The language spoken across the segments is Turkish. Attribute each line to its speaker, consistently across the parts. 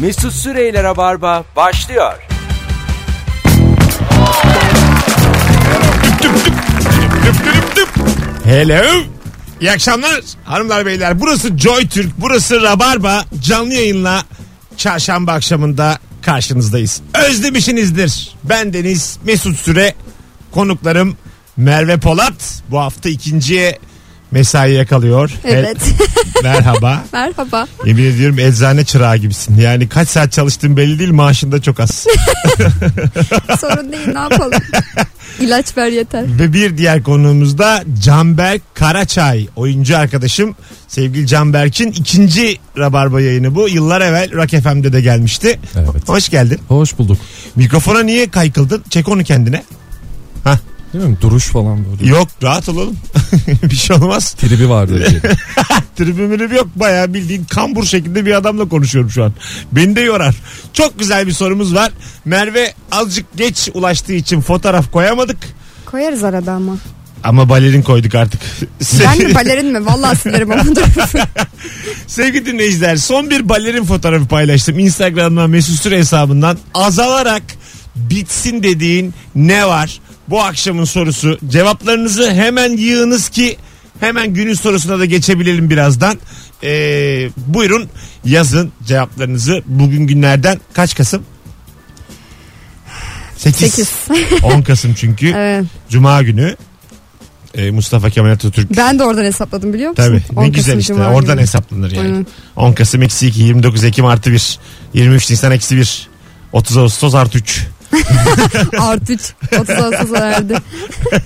Speaker 1: Mesut Süreyler'e barba başlıyor.
Speaker 2: Hello. İyi akşamlar hanımlar beyler. Burası Joy Türk, burası Rabarba. Canlı yayınla çarşamba akşamında karşınızdayız. Özlemişinizdir. Ben Deniz Mesut Süre. Konuklarım Merve Polat. Bu hafta ikinciye mesai yakalıyor.
Speaker 3: Evet.
Speaker 2: Hel- Merhaba.
Speaker 3: Merhaba.
Speaker 2: Yemin ediyorum eczane çırağı gibisin. Yani kaç saat çalıştığın belli değil maaşın da çok az.
Speaker 3: Sorun değil ne yapalım. İlaç ver yeter.
Speaker 2: Ve bir diğer konuğumuz da Canberk Karaçay. Oyuncu arkadaşım sevgili Canberk'in ikinci Rabarba yayını bu. Yıllar evvel Rock FM'de de gelmişti.
Speaker 4: Evet.
Speaker 2: Hoş geldin.
Speaker 4: Hoş bulduk.
Speaker 2: Mikrofona niye kaykıldın? Çek onu kendine.
Speaker 4: Değil mi? Duruş falan böyle.
Speaker 2: Yok rahat olalım. bir şey olmaz.
Speaker 4: Tribi vardı. öyle şey.
Speaker 2: Tribüm mribüm yok. Bayağı bildiğin kambur şeklinde bir adamla konuşuyorum şu an. Beni de yorar. Çok güzel bir sorumuz var. Merve azıcık geç ulaştığı için fotoğraf koyamadık.
Speaker 3: Koyarız arada ama.
Speaker 2: Ama balerin koyduk artık.
Speaker 3: Ben mi balerin mi? Vallahi silerim ama dur.
Speaker 2: Sevgili dinleyiciler son bir balerin fotoğrafı paylaştım. Instagram'dan Mesut Süre hesabından azalarak bitsin dediğin ne var? Bu akşamın sorusu. Cevaplarınızı hemen yığınız ki hemen günün sorusuna da geçebilelim birazdan. Ee, buyurun yazın cevaplarınızı. Bugün günlerden kaç Kasım? 8.
Speaker 3: Sekiz.
Speaker 2: 10 Kasım çünkü.
Speaker 3: Evet.
Speaker 2: Cuma günü. Ee, Mustafa Kemal Atatürk
Speaker 3: Ben de oradan hesapladım biliyor musun?
Speaker 2: Tabii
Speaker 3: 10
Speaker 2: ne güzel
Speaker 3: Kasım
Speaker 2: işte
Speaker 3: Cuma
Speaker 2: oradan
Speaker 3: günü.
Speaker 2: hesaplanır yani.
Speaker 3: Aynen.
Speaker 2: 10 Kasım eksi 2, 29 Ekim artı 1, 23 Nisan eksi 1, 30 Ağustos artı 3.
Speaker 3: Artı 3. 30 Ağustos erdi.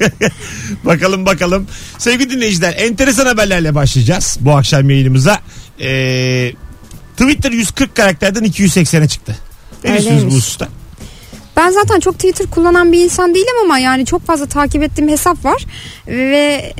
Speaker 2: Bakalım bakalım. Sevgili dinleyiciler enteresan haberlerle başlayacağız bu akşam yayınımıza. Ee, Twitter 140 karakterden 280'e çıktı. Ne
Speaker 3: Öyleymiş.
Speaker 2: düşünüyorsunuz bu hususta?
Speaker 3: Ben zaten çok Twitter kullanan bir insan değilim ama yani çok fazla takip ettiğim hesap var. Ve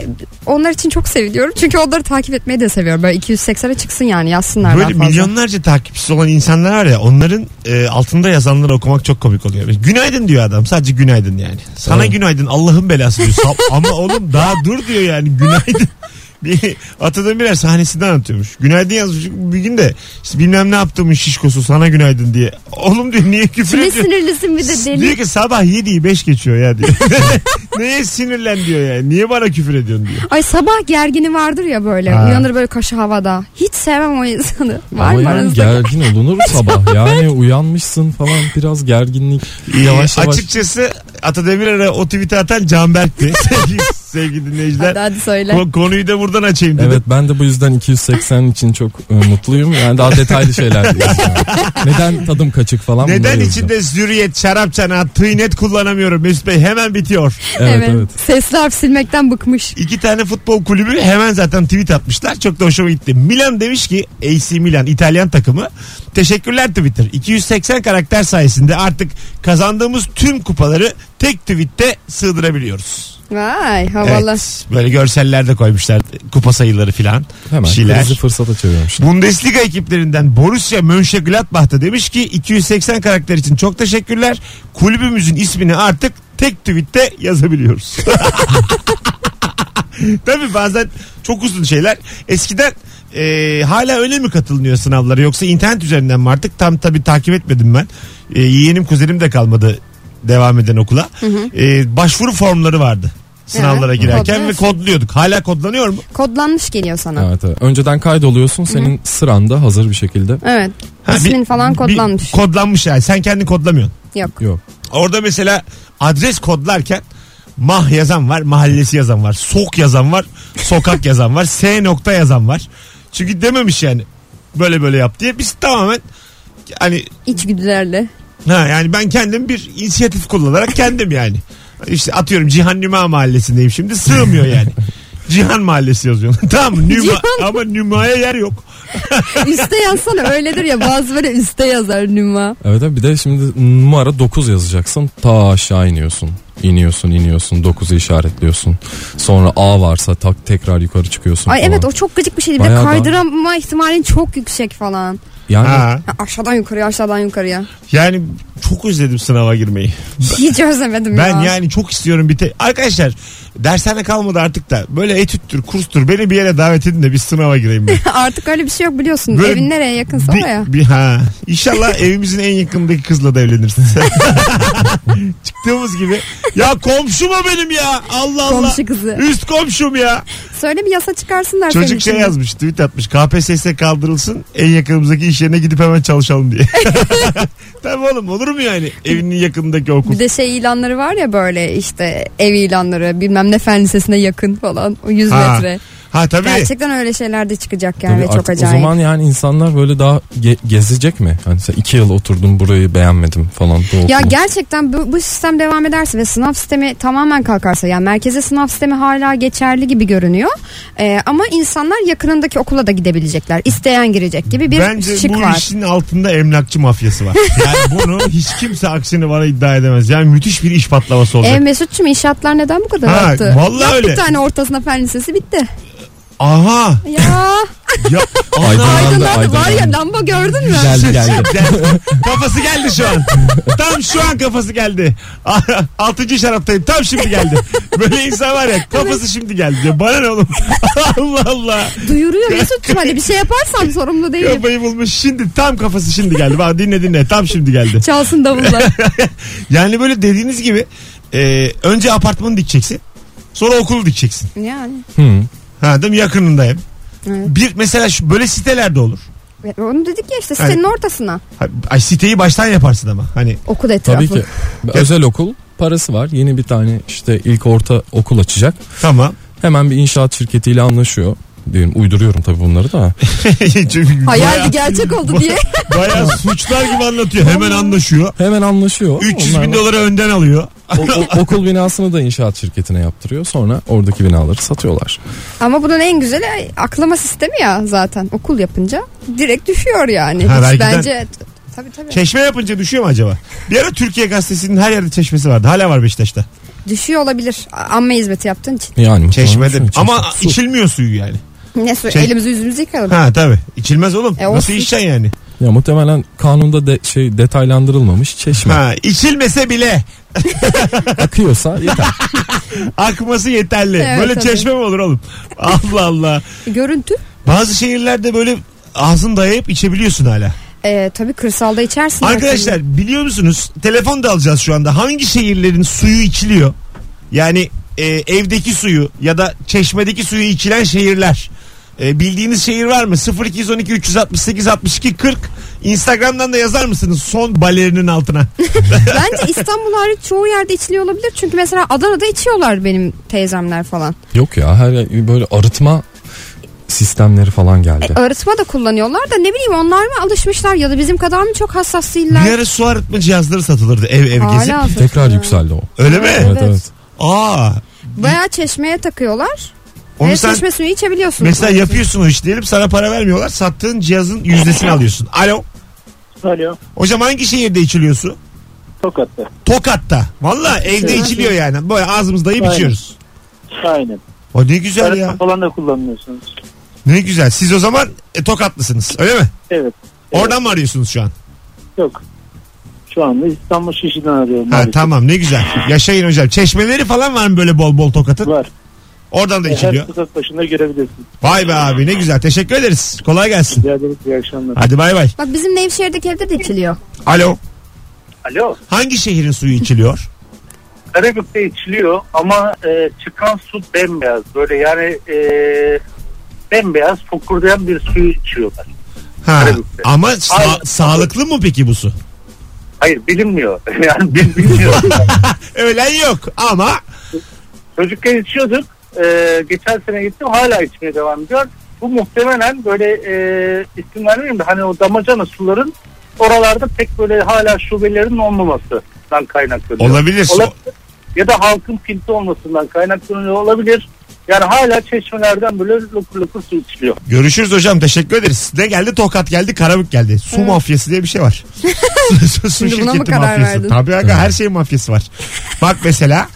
Speaker 3: onlar için çok seviliyorum. Çünkü onları takip etmeyi de seviyorum. Böyle 280'e çıksın yani yazsınlar daha
Speaker 2: Böyle
Speaker 3: fazla.
Speaker 2: milyonlarca takipçisi olan insanlar var ya onların e, altında yazanları okumak çok komik oluyor. Günaydın diyor adam sadece günaydın yani. Sana
Speaker 4: Evet.
Speaker 2: günaydın Allah'ın belası diyor. Sap- Ama oğlum daha dur diyor yani günaydın. bir Atadan birer sahnesinden anlatıyormuş. Günaydın yazmış bir gün de işte bilmem ne yaptığımın şişkosu sana günaydın diye. Oğlum diyor niye küfür
Speaker 3: Kime
Speaker 2: ediyorsun?
Speaker 3: sinirlisin bir de deli.
Speaker 2: Diyor ki sabah 7'yi 5 geçiyor ya diyor. Neye sinirlen diyor yani. Niye bana küfür ediyorsun diyor.
Speaker 3: Ay sabah gergini vardır ya böyle.
Speaker 2: Ha.
Speaker 3: Uyanır böyle kaşı havada. Hiç sevmem o insanı. Var
Speaker 4: Ama
Speaker 3: mı
Speaker 4: yani
Speaker 3: aranızda?
Speaker 4: gergin olunur sabah. Yani uyanmışsın falan biraz gerginlik. Yavaş
Speaker 2: Ee,
Speaker 4: yavaş.
Speaker 2: Açıkçası Atademir'e o tweet'i atan Canberk'ti. sevgili, sevgili
Speaker 3: Hadi,
Speaker 2: dinleyiciler.
Speaker 3: hadi söyle.
Speaker 2: Ko- konuyu da buradan açayım dedim.
Speaker 4: Evet ben de bu yüzden 280 için çok e, mutluyum. Yani daha detaylı şeyler yazacağım. Neden tadım kaçık falan bunları
Speaker 2: Neden
Speaker 4: yazacağım.
Speaker 2: içinde zürriyet, şarap çanağı, tıynet kullanamıyorum Mesut Bey? Hemen bitiyor.
Speaker 4: Evet evet.
Speaker 3: Sesli harf silmekten bıkmış.
Speaker 2: İki tane futbol kulübü hemen zaten tweet atmışlar. Çok da hoşuma gitti. Milan demiş ki AC Milan İtalyan takımı teşekkürler Twitter. 280 karakter sayesinde artık kazandığımız tüm kupaları tek tweette sığdırabiliyoruz.
Speaker 3: Vay havalı.
Speaker 2: Evet, böyle görseller de koymuşlar kupa sayıları filan.
Speaker 4: Hemen
Speaker 2: Şeyler.
Speaker 4: krizi fırsata çeviriyorum şimdi.
Speaker 2: Bundesliga ekiplerinden Borussia Mönchengladbach da demiş ki 280 karakter için çok teşekkürler. Kulübümüzün ismini artık tek tweette yazabiliyoruz. Tabii bazen çok uzun şeyler. Eskiden e, hala öyle mi katılınıyor sınavlara yoksa internet üzerinden mi artık? Tam tabii takip etmedim ben. E, yeğenim kuzenim de kalmadı devam eden okula. E, başvuru formları vardı sınavlara
Speaker 3: Evet,
Speaker 2: girerken ve
Speaker 3: kodluyorsun.
Speaker 2: kodluyorduk. Hala kodlanıyor mu?
Speaker 3: Kodlanmış geliyor sana. Evet.
Speaker 4: Evet, evet. Önceden kaydoluyorsun senin sıranda hazır bir şekilde.
Speaker 2: Ha,
Speaker 3: İsmin
Speaker 2: bir-
Speaker 3: falan
Speaker 2: bir-
Speaker 3: kodlanmış.
Speaker 2: kodlanmış yani. Sen kendin kodlamıyorsun.
Speaker 3: Yok.
Speaker 4: Yok.
Speaker 2: Orada mesela adres kodlarken mah yazan var, mahallesi yazan var, sok yazan var, sokak yazan var, s nokta yazan var. Çünkü dememiş yani böyle böyle yap diye. Biz tamamen hani
Speaker 3: İçgüdülerle.
Speaker 2: ha yani ben kendim bir inisiyatif kullanarak kendim yani. İşte atıyorum Cihan Nüma mahallesindeyim şimdi sığmıyor yani. Cihan mahallesi yazıyorsun. tamam mı? Nüma,
Speaker 3: Cihan.
Speaker 2: ama Nüma'ya yer yok.
Speaker 3: Üste yazsana öyledir ya bazı böyle üste yazar nüma.
Speaker 4: Evet evet. bir de şimdi numara 9 yazacaksın ta aşağı iniyorsun. iniyorsun iniyorsun 9'u işaretliyorsun. Sonra A varsa tak tekrar yukarı çıkıyorsun.
Speaker 3: Ay
Speaker 4: falan.
Speaker 3: evet o çok gıcık bir şeydi. Bir de
Speaker 4: Bayağı da-
Speaker 3: kaydırma ihtimalin çok yüksek falan.
Speaker 4: Yani
Speaker 2: Ha.
Speaker 3: Ya aşağıdan yukarıya aşağıdan yukarıya.
Speaker 2: Yani çok özledim sınava girmeyi.
Speaker 3: Hiç özlemedim
Speaker 2: Ben
Speaker 3: ya.
Speaker 2: yani çok istiyorum bir te- Arkadaşlar dershane kalmadı artık da böyle etüttür, kurstur beni bir yere davet edin de bir sınava gireyim ben.
Speaker 3: Artık öyle bir şey yok biliyorsun.
Speaker 2: Böyle
Speaker 3: Evin nereye yakınsa oraya.
Speaker 2: bir, bir- ha. İnşallah evimizin en yakındaki kızla da evlenirsin. Çıktığımız gibi. Ya komşu mu benim ya? Allah Allah.
Speaker 3: Komşu kızı.
Speaker 2: Üst komşum ya.
Speaker 3: Söyle bir yasa çıkarsınlar senin
Speaker 2: Çocuk
Speaker 3: için.
Speaker 2: şey yazmış, tweet atmış. KPSS kaldırılsın, en yakınımızdaki iş yerine gidip hemen çalışalım diye. Tabii oğlum olur mu yani? Evinin yakınındaki okul.
Speaker 3: Bir de şey ilanları var ya böyle işte ev ilanları bilmem ne fen lisesine yakın falan o 100
Speaker 2: Ha,
Speaker 3: metre.
Speaker 2: Ha tabii.
Speaker 3: Gerçekten öyle şeyler de çıkacak yani
Speaker 4: Tabii
Speaker 3: ve çok
Speaker 4: artık
Speaker 3: acayip.
Speaker 4: O zaman yani insanlar böyle daha ge- gezecek mi? Hani sen iki yıl oturdum burayı beğenmedim falan. bu
Speaker 3: Ya
Speaker 4: okulu.
Speaker 3: gerçekten bu, bu sistem devam ederse ve sınav sistemi tamamen kalkarsa yani merkeze sınav sistemi hala geçerli gibi görünüyor. Ee, ama insanlar yakınındaki okula da gidebilecekler. İsteyen girecek gibi bir
Speaker 2: Bence
Speaker 3: şık
Speaker 2: bu
Speaker 3: var.
Speaker 2: işin altında emlakçı mafyası var. Yani bunu hiç kimse aksini bana iddia edemez. Yani müthiş bir iş patlaması olacak.
Speaker 3: E Mesut'cum inşaatlar neden bu kadar
Speaker 2: Ha,
Speaker 3: arttı?
Speaker 2: vallahi
Speaker 3: Yap
Speaker 2: öyle.
Speaker 3: bir tane ortasına fen lisesi bitti.
Speaker 2: Aha.
Speaker 3: Ya
Speaker 2: Ya,
Speaker 4: Aydınlandı,
Speaker 3: aydınlandı var ya
Speaker 4: aydınlandı.
Speaker 3: lamba gördün mü?
Speaker 4: Geldi geldi.
Speaker 2: kafası geldi şu an. Tam şu an kafası geldi. Altıncı şaraptayım. Tam şimdi geldi. Böyle insan var ya kafası şimdi geldi diyor. Bana ne oğlum? Allah Allah.
Speaker 3: Duyuruyor Mesut'cum hani bir şey yaparsam sorumlu değilim.
Speaker 2: Kafayı bulmuş. Şimdi tam kafası şimdi geldi. Bak dinle dinle. Tam şimdi geldi.
Speaker 3: Çalsın davulla.
Speaker 2: Yani böyle dediğiniz gibi e, önce apartmanı dikeceksin. Sonra okulu dikeceksin.
Speaker 3: yani.
Speaker 4: Hı.
Speaker 2: Ha değil mi? Yakınındayım.
Speaker 3: Evet.
Speaker 2: Bir mesela şu böyle sitelerde olur.
Speaker 3: Ve Onu dedik ya işte
Speaker 2: Hani-
Speaker 3: sitenin ortasına.
Speaker 2: Ha- Ay siteyi baştan yaparsın ama. Hani
Speaker 3: Okul etrafı.
Speaker 4: Tabii ki. Özel okul parası var. Yeni bir tane işte ilk orta okul açacak.
Speaker 2: tamam.
Speaker 4: Hemen bir inşaat şirketiyle anlaşıyor. Diyelim uyduruyorum tabii bunları da.
Speaker 2: Çünkü
Speaker 3: Hayaldi
Speaker 2: bayağı-
Speaker 3: gerçek oldu diye.
Speaker 2: Bayağı suçlar gibi anlatıyor. Hemen anlaşıyor.
Speaker 4: Hemen anlaşıyor.
Speaker 2: 300
Speaker 4: Onlar-
Speaker 2: bin doları önden alıyor.
Speaker 4: o- o- okul binasını da inşaat şirketine yaptırıyor. Sonra oradaki binaları satıyorlar.
Speaker 3: Ama bunun en güzeli aklama sistemi ya zaten. Okul yapınca direkt düşüyor yani.
Speaker 2: Ha,
Speaker 3: Hiç
Speaker 2: vergiden-
Speaker 3: bence tabii tabii.
Speaker 2: Çeşme yapınca düşüyor mu acaba? Bir ara Türkiye Gazetesi'nin her yerde çeşmesi vardı. Hala var Beşiktaş'ta.
Speaker 3: Düşüyor olabilir. A- Amma hizmeti yaptığın için.
Speaker 4: Yani
Speaker 2: Çeşmede.
Speaker 4: Çeşme-
Speaker 2: Ama
Speaker 4: Su.
Speaker 2: içilmiyor suyu yani.
Speaker 3: Ne su-
Speaker 2: Şey-
Speaker 3: elimizi yüzümüzü yıkayalım.
Speaker 2: Ha tabii. İçilmez oğlum.
Speaker 3: E,
Speaker 2: Nasıl
Speaker 3: olsun.
Speaker 2: içeceksin yani?
Speaker 4: Ya muhtemelen kanunda de, şey detaylandırılmamış çeşme.
Speaker 2: Ha içilmese bile
Speaker 4: Akıyorsa yeter.
Speaker 2: akması yeterli.
Speaker 3: Evet,
Speaker 2: böyle
Speaker 3: tabii.
Speaker 2: çeşme mi olur oğlum? Allah Allah.
Speaker 3: Görüntü
Speaker 2: Bazı şehirlerde böyle ağzını dayayıp içebiliyorsun hala.
Speaker 3: e, tabii kırsalda içersin.
Speaker 2: Arkadaşlar biliyor musunuz telefon da alacağız şu anda. Hangi şehirlerin suyu içiliyor? Yani e, evdeki suyu ya da çeşmedeki suyu içilen şehirler. E, bildiğiniz şehir var mı? 0212 368 62 40 Instagram'dan da yazar mısınız son balerinin altına?
Speaker 3: Bence İstanbul hariç çoğu yerde içiliyor olabilir. Çünkü mesela Adana'da içiyorlar benim teyzemler falan.
Speaker 4: Yok ya her böyle arıtma sistemleri falan
Speaker 3: E,
Speaker 4: geldi.
Speaker 3: arıtma da kullanıyorlar da ne bileyim onlar mı alışmışlar ya da bizim kadar mı çok hassas değiller?
Speaker 2: Bir ara su arıtma cihazları satılırdı ev ev gezip.
Speaker 3: Hala satılıyor.
Speaker 4: Tekrar yükseldi o.
Speaker 2: Öyle mi?
Speaker 3: Evet.
Speaker 4: Evet evet.
Speaker 2: Aa.
Speaker 3: Bayağı çeşmeye takıyorlar.
Speaker 2: Onu
Speaker 3: Ve
Speaker 2: sen
Speaker 3: çeşme suyu içebiliyorsun.
Speaker 2: mesela yapıyorsun o iş diyelim sana para vermiyorlar. Sattığın cihazın yüzdesini alıyorsun. Alo.
Speaker 5: Alo.
Speaker 2: Hocam hangi şehirde içiliyor su?
Speaker 5: Tokat'ta.
Speaker 2: Tokat'ta. Valla evde
Speaker 5: Evet.
Speaker 2: içiliyor yani. Böyle ağzımız dayayıp
Speaker 5: Aynen.
Speaker 2: içiyoruz.
Speaker 5: Aynen.
Speaker 2: O ne güzel
Speaker 5: Arıtma
Speaker 2: ya.
Speaker 5: falan da kullanmıyorsunuz.
Speaker 2: Ne güzel. Siz o zaman e, Tokatlısınız öyle mi?
Speaker 5: Evet.
Speaker 2: Oradan mı arıyorsunuz şu an?
Speaker 5: Yok. Şu anda İstanbul Şişli'den arıyorum.
Speaker 2: Ha,
Speaker 5: maalesef.
Speaker 2: tamam ne güzel. Yaşayın hocam. Çeşmeleri falan var mı böyle bol bol Tokat'ın?
Speaker 5: Var.
Speaker 2: Oradan da
Speaker 5: E, Her
Speaker 2: içiliyor.
Speaker 5: fırsat başında görebilirsiniz.
Speaker 2: Vay be abi ne güzel. Teşekkür ederiz. Kolay gelsin.
Speaker 5: Rica ederim. İyi akşamlar.
Speaker 2: Hadi bay bay.
Speaker 3: Bak bizim Nevşehir'deki evde de içiliyor.
Speaker 2: Alo.
Speaker 5: Alo.
Speaker 2: Hangi şehrin suyu içiliyor?
Speaker 5: Karagümrük'te içiliyor ama e, çıkan su bembeyaz. Böyle yani e, bembeyaz fokurdayan bir suyu içiyorlar.
Speaker 2: Ha,
Speaker 5: Karagümrük'te.
Speaker 2: ama sa-
Speaker 5: Aynen.
Speaker 2: sağlıklı mı peki bu su?
Speaker 5: Hayır bilinmiyor. Yani biz bilmiyoruz.
Speaker 2: Öğlen yok ama
Speaker 5: Çocukken içiyorduk. Ee, geçen sene gittim hala içmeye devam ediyor. Bu muhtemelen böyle e, isim vermeyeyim de hani o damacana suların oralarda pek böyle hala şubelerinin olmamasından kaynaklanıyor.
Speaker 2: olabilir. Su-
Speaker 5: Olabilir. Ya da halkın pinti olmasından kaynaklanıyor olabilir. Yani hala çeşmelerden böyle lukur lukur su içiliyor.
Speaker 2: Görüşürüz hocam teşekkür ederiz. Ne geldi? Tokat geldi, Karabük geldi. Su mafyası diye bir şey var. su, su
Speaker 3: Şimdi buna mı
Speaker 2: şirketi
Speaker 3: karar
Speaker 2: mafyası.
Speaker 3: verdin?
Speaker 2: Tabii aga her şeyin mafyası var. Bak mesela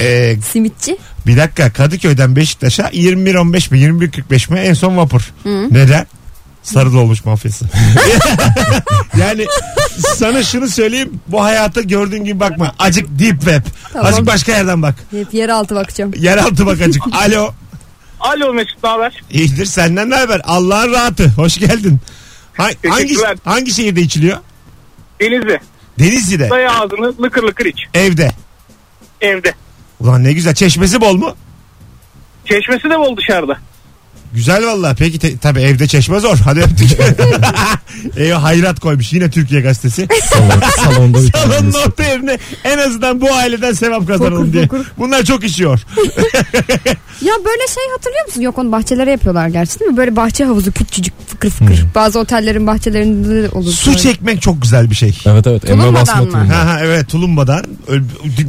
Speaker 2: e,
Speaker 3: Simitçi.
Speaker 2: bir dakika Kadıköy'den Beşiktaş'a 21.15 mi 21.45 mi en son vapur. Neden? Sarı dolmuş mafyası. yani sana şunu söyleyeyim bu hayata gördüğün gibi bakma. Acık deep web.
Speaker 3: Tamam.
Speaker 2: Azıcık başka yerden bak.
Speaker 3: Hep yeraltı bakacağım.
Speaker 2: Yeraltı bak acık. Alo.
Speaker 5: Alo Mesut ne haber?
Speaker 2: İyidir senden ne haber? Allah'ın rahatı. Hoş geldin. Ha- hangi,
Speaker 5: Teşekkürler.
Speaker 2: hangi şehirde içiliyor?
Speaker 5: Denizli.
Speaker 2: Denizli'de.
Speaker 5: Dayı ağzını lıkır lıkır iç.
Speaker 2: Evde.
Speaker 5: Evde.
Speaker 2: Ulan ne güzel. Çeşmesi bol mu?
Speaker 5: Çeşmesi de bol dışarıda.
Speaker 2: Güzel valla. Peki te- tabii evde çeşme zor. Hadi öptük. Eyvah hayrat koymuş. Yine Türkiye gazetesi.
Speaker 4: Salon, salonda bir
Speaker 2: Salonun
Speaker 4: tanesi.
Speaker 2: orta yerine en azından bu aileden sevap kazanalım
Speaker 3: Fokur,
Speaker 2: diye.
Speaker 3: fokur.
Speaker 2: Bunlar çok işiyor.
Speaker 3: Ya böyle şey hatırlıyor musun? Yok onu bahçelere yapıyorlar gerçi değil mi? Böyle bahçe havuzu küçücük fıkır fıkır. Bazı otellerin bahçelerinde de olur.
Speaker 2: Hmm. Su
Speaker 3: böyle.
Speaker 2: çekmek çok güzel bir şey.
Speaker 4: Evet evet emme
Speaker 3: Bulunmadan
Speaker 4: basma
Speaker 3: mı?
Speaker 4: turnu.
Speaker 2: Ha ha evet tulumbadan. Öl-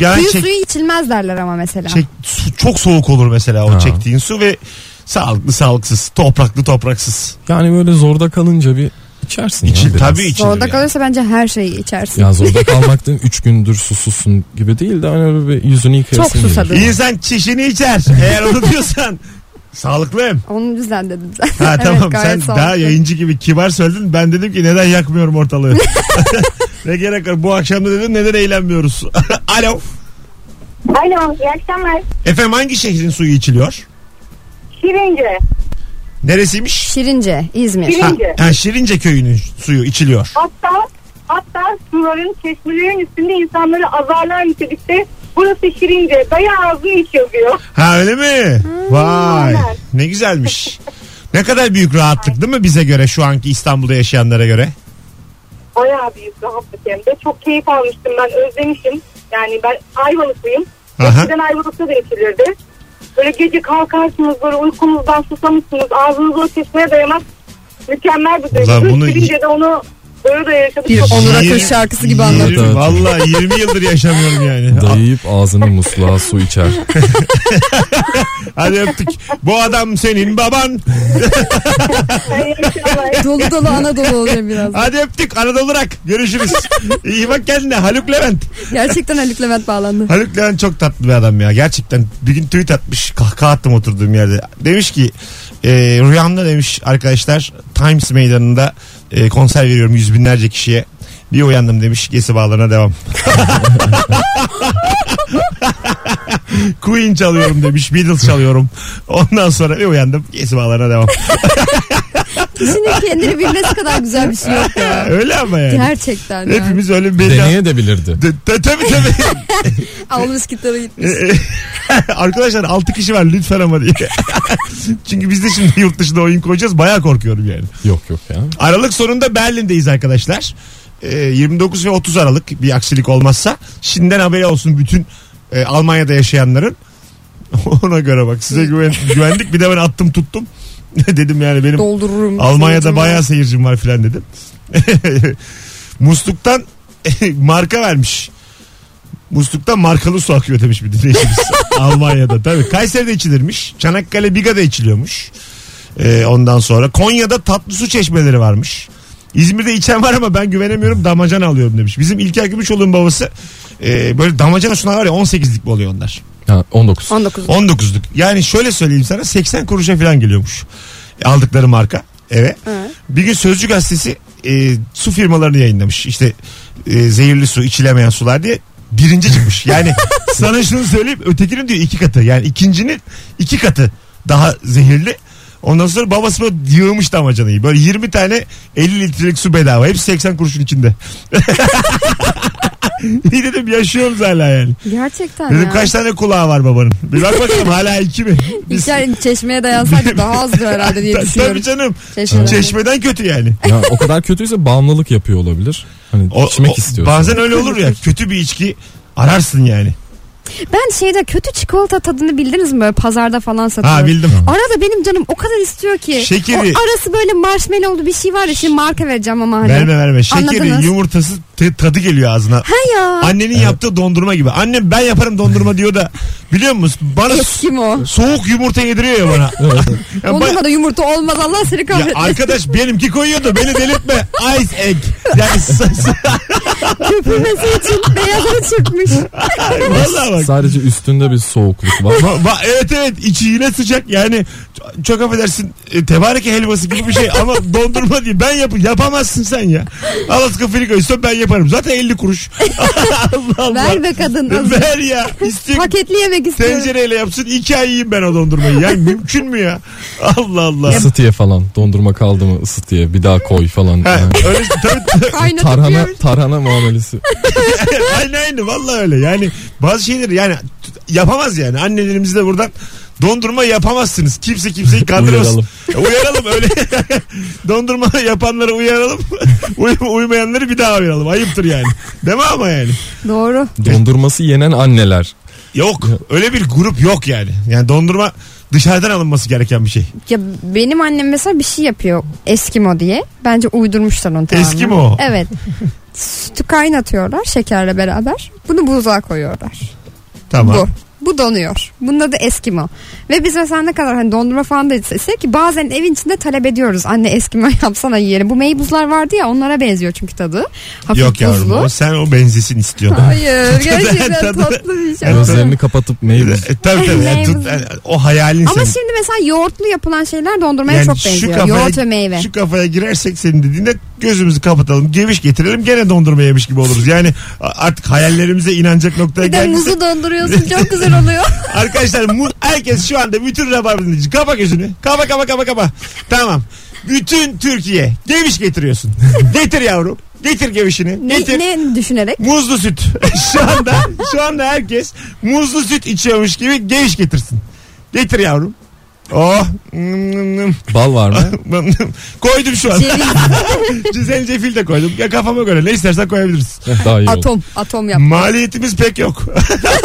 Speaker 2: Yani
Speaker 3: Kuyu
Speaker 2: çek-
Speaker 3: suyu içilmez derler ama mesela.
Speaker 2: çek- su- çok soğuk olur mesela o
Speaker 4: Ha.
Speaker 2: çektiğin su ve sağlıklı sağlıksız. Topraklı topraksız.
Speaker 4: Yani böyle zorda kalınca bir içersin ya
Speaker 2: İçin,
Speaker 4: biraz.
Speaker 2: tabii içilir.
Speaker 3: Zorda
Speaker 2: yani.
Speaker 3: kalırsa bence her şeyi içersin.
Speaker 4: Ya zorda kalmaktan 3 gündür susuzsun gibi değil de hani öyle bir yüzünü yıkayasın.
Speaker 3: Çok
Speaker 4: gelir.
Speaker 3: susadım.
Speaker 2: İnsan çişini içer. Eğer onu diyorsan. Sağlıklı hem.
Speaker 3: Onu yüzden dedim zaten.
Speaker 2: Ha
Speaker 3: Evet,
Speaker 2: tamam
Speaker 3: gayet
Speaker 2: sen
Speaker 3: sağlıklı.
Speaker 2: daha yayıncı gibi kibar söyledin. Ben dedim ki neden yakmıyorum ortalığı. ne gerek var bu akşam da dedim neden eğlenmiyoruz. Alo.
Speaker 6: Alo, iyi akşamlar.
Speaker 2: Efendim hangi şehrin suyu içiliyor?
Speaker 6: Şirince.
Speaker 2: Neresiymiş?
Speaker 3: Şirince, İzmir.
Speaker 6: Şirin-
Speaker 2: Ha,
Speaker 6: Şirince.
Speaker 2: ha, Şirince köyünün suyu içiliyor.
Speaker 6: Hatta hatta suların, çeşmelerin üstünde insanları azarlar nitelikte. Burası Şirince. Dayı ağzını iç yazıyor.
Speaker 2: Ha öyle mi? Vay
Speaker 6: aynen.
Speaker 2: ne güzelmiş. Ne kadar büyük rahatlık değil mi bize göre şu anki İstanbul'da yaşayanlara göre?
Speaker 6: Bayağı büyük rahatlık hem de. Çok keyif almıştım ben. Özlemişim. Yani ben Ayvalıklıyım.
Speaker 2: Aha.
Speaker 6: Eskiden Ayvalık'ta da içilirdi. Böyle gece kalkarsınız böyle uykunuzdan susamışsınız. Ağzınız o çeşmeye dayanmaz. Mükemmel bir
Speaker 2: Ulan
Speaker 6: duygu.
Speaker 2: bunu-
Speaker 6: Şirince'de onu böyle da yaşadık.
Speaker 3: Bir
Speaker 6: Çok-
Speaker 3: Onur Akın
Speaker 2: Yirmi-
Speaker 3: şarkısı gibi
Speaker 2: yirmi-
Speaker 3: anlattı.
Speaker 4: Evet.
Speaker 2: Vallahi 20 yıldır yaşamıyorum yani.
Speaker 4: Dayayıp ağzını musluğa su içer.
Speaker 2: Hadi öptük. Bu adam senin baban.
Speaker 6: Ay, inşallah.
Speaker 3: Dolu dolu Anadolu oluyor biraz.
Speaker 2: Hadi öptük. Anadolu Rock. Görüşürüz. İyi bak kendine. Haluk Levent.
Speaker 3: Gerçekten Haluk Levent bağlandı.
Speaker 2: Haluk Levent çok tatlı bir adam ya. Gerçekten bir gün tweet atmış. Kahkaha attım oturduğum yerde. Demiş ki e, rüyamda demiş arkadaşlar Times meydanında e, konser veriyorum yüz binlerce kişiye. Bir uyandım demiş gesi bağlarına devam. Queen çalıyorum demiş. Beatles çalıyorum. Ondan sonra bir uyandım. Gesi bağlarına devam.
Speaker 3: Kişinin kendini bilmesi kadar güzel bir şey yok ya.
Speaker 2: Öyle ama yani.
Speaker 3: Gerçekten ya.
Speaker 2: Hepimiz öyle bir bela-
Speaker 4: Deneye de bilirdi.
Speaker 2: De- de- Tabii tabii.
Speaker 3: Almış gitarı gitmiş.
Speaker 2: Arkadaşlar 6 kişi var lütfen ama diye. Çünkü biz de şimdi yurt dışında oyun koyacağız. Baya korkuyorum yani.
Speaker 4: Yok yok ya.
Speaker 2: Aralık sonunda Berlin'deyiz arkadaşlar. Ee, 29 ve 30 Aralık bir aksilik olmazsa. Şimdiden haberi olsun bütün e, Almanya'da yaşayanların. Ona göre bak size güven, güvendik. Bir de ben attım tuttum. dedim yani benim
Speaker 3: Doldururum.
Speaker 2: Almanya'da
Speaker 3: Seyircim
Speaker 2: bayağı
Speaker 3: var.
Speaker 2: seyircim var filan dedim. Musluktan marka vermiş. Musluktan markalı su akıyor demiş bir dinleyicimiz. Almanya'da tabii. Kayseri'de içilirmiş. Çanakkale Biga'da içiliyormuş. Ee, ondan sonra Konya'da tatlı su çeşmeleri varmış. İzmir'de içen var ama ben güvenemiyorum damacana alıyorum demiş. Bizim İlker Gümüşoğlu'nun babası e, böyle damacana sular var ya 18'lik mi oluyor onlar?
Speaker 4: Ha, 19.
Speaker 3: 19.
Speaker 2: 19'luk. Yani şöyle söyleyeyim sana 80 kuruşa falan geliyormuş. E, Aldıkları marka eve. Bir gün Sözcü Gazetesi e, su firmalarını yayınlamış. İşte e, zehirli su içilemeyen sular diye birinci çıkmış. Yani sana şunu söyleyeyim ötekinin diyor iki katı. Yani ikincinin iki katı daha zehirli. Ondan sonra babası böyle yığmış damacanayı. Böyle 20 tane 50 litrelik su bedava. Hepsi 80 kuruşun içinde. İyi dedim yaşıyoruz hala yani.
Speaker 3: Gerçekten
Speaker 2: Dedim
Speaker 3: ya.
Speaker 2: kaç tane kulağı var babanın? Bir bak bakalım hala iki mi? Biz-
Speaker 3: İlker çeşmeye dayansak daha azdı herhalde diye
Speaker 2: Ta- Tabii
Speaker 3: düşünüyorum.
Speaker 2: canım.
Speaker 3: Çeşmeden.
Speaker 2: Çeşmeden kötü yani.
Speaker 4: Ya, o kadar kötüyse bağımlılık yapıyor olabilir. Hani
Speaker 2: O-
Speaker 4: içmek
Speaker 2: o-
Speaker 4: istiyorsun.
Speaker 2: Bazen öyle olur ya. Kötü bir içki ararsın yani.
Speaker 3: Ben şeyde kötü çikolata tadını bildiniz mi? Böyle Pazarda falan satılıyor.
Speaker 2: Ha bildim.
Speaker 3: Arada benim canım o kadar istiyor ki.
Speaker 2: Şekeri.
Speaker 3: O arası böyle marshmallowlu bir şey var ya. Şimdi marka vereceğim ama hani.
Speaker 2: Verme verme. Şekeri
Speaker 3: Anladınız.
Speaker 2: yumurtası t- tadı geliyor ağzına.
Speaker 3: Ha ya.
Speaker 2: Annenin yaptığı dondurma gibi. Annem ben yaparım dondurma diyor da biliyor musun? Bana
Speaker 3: Eski mi o?
Speaker 2: soğuk yumurta yediriyor ya bana. Ya ba-
Speaker 3: Dondurma da yumurta olmaz Allah seni
Speaker 2: ya
Speaker 3: kahretsin.
Speaker 2: arkadaş benimki koyuyordu beni delirtme. Ice egg. Yani s- s-
Speaker 3: Köpürmesi için beyazını çırpmış.
Speaker 2: vallahi bak.
Speaker 4: Sadece üstünde bir soğukluk var.
Speaker 2: Va- va- evet evet içi yine sıcak yani ç- çok affedersin e, tebareke helvası gibi bir şey ama dondurma değil ben yap yapamazsın sen ya. Alaska Friko istiyorum ben yaparım zaten 50 kuruş. Allah Allah.
Speaker 3: Ver be kadın. azıcık.
Speaker 2: Ver ya. İstiyor
Speaker 3: Paketli yemek istiyorum.
Speaker 2: tencereyle yapsın iki ay yiyeyim ben o dondurmayı. Yani mümkün mü ya? Allah Allah.
Speaker 4: Isıtıya falan. Dondurma kaldı mı ısıtıya bir daha koy falan.
Speaker 2: Ha,
Speaker 4: Yani
Speaker 2: öyle tabii, tabii,
Speaker 3: Kaynatıp
Speaker 4: tarhana,
Speaker 3: yiyoruz.
Speaker 4: tarhana muamelesi.
Speaker 2: aynı aynı vallahi öyle. Yani bazı şeyleri yani t- yapamaz yani. Annelerimiz de buradan dondurma yapamazsınız. Kimse kimseyi kandırmasın.
Speaker 4: Uyaralım.
Speaker 2: E, uyaralım öyle. dondurma yapanları uyaralım. Uy- uymayanları bir daha uyaralım. Ayıptır yani. Değil mi ama yani?
Speaker 3: Doğru.
Speaker 4: Dondurması yenen anneler.
Speaker 2: Yok. Öyle bir grup yok yani. Yani dondurma dışarıdan alınması gereken bir şey.
Speaker 3: Ya benim annem mesela bir şey yapıyor. Eskimo diye. Bence uydurmuşlar onu tamamen.
Speaker 2: Eskimo.
Speaker 3: Evet. Sütü kaynatıyorlar şekerle beraber. Bunu buzluğa koyuyorlar.
Speaker 2: Tamam.
Speaker 3: Bu. Bu donuyor. Bunun adı Eskimo. Ve biz mesela ne kadar hani dondurma falan da istesek ki bazen evin içinde talep ediyoruz. Anne Eskimo yapsana yiyelim. Bu meybuzlar vardı ya onlara benziyor çünkü tadı. Hafif
Speaker 2: Yok yavrum
Speaker 3: buzlu.
Speaker 2: o sen o benzesin istiyorsun.
Speaker 3: Hayır gerçekten
Speaker 2: Tadı-
Speaker 3: tatlı bir şey.
Speaker 4: Gözlerini kapatıp meyve.
Speaker 2: E, tabii tabii. Yani tut- yani o hayalin
Speaker 3: Ama
Speaker 2: senin.
Speaker 3: şimdi mesela yoğurtlu yapılan şeyler dondurmaya
Speaker 2: Yani
Speaker 3: çok benziyor. Yoğurt ve meyve.
Speaker 2: Şu kafaya girersek senin dediğinde gözümüzü kapatalım. Geviş getirelim gene dondurma yemiş gibi oluruz. Yani a- artık hayallerimize inanacak noktaya
Speaker 3: Bir de
Speaker 2: gelmişse.
Speaker 3: muzu donduruyorsun çok güzel oluyor.
Speaker 2: Arkadaşlar mu- herkes şu anda bütün rabar dinleyici. Kapa gözünü. Kapa kapa kapa kapa. Tamam. Bütün Türkiye geviş getiriyorsun. Getir yavrum. Getir gevişini.
Speaker 3: ne,
Speaker 2: Getir.
Speaker 3: ne düşünerek?
Speaker 2: Muzlu süt. şu anda şu anda herkes muzlu süt içiyormuş gibi geviş getirsin. Getir yavrum. Oh. Mm,
Speaker 4: Bal var mı?
Speaker 2: mm. Koydum şu an.
Speaker 3: Ceviz,
Speaker 2: Zencefil de koydum. Ya kafama göre ne istersen koyabiliriz.
Speaker 4: Eh, Daha iyi oldu.
Speaker 3: atom, atom yap.
Speaker 2: Maliyetimiz pek yok.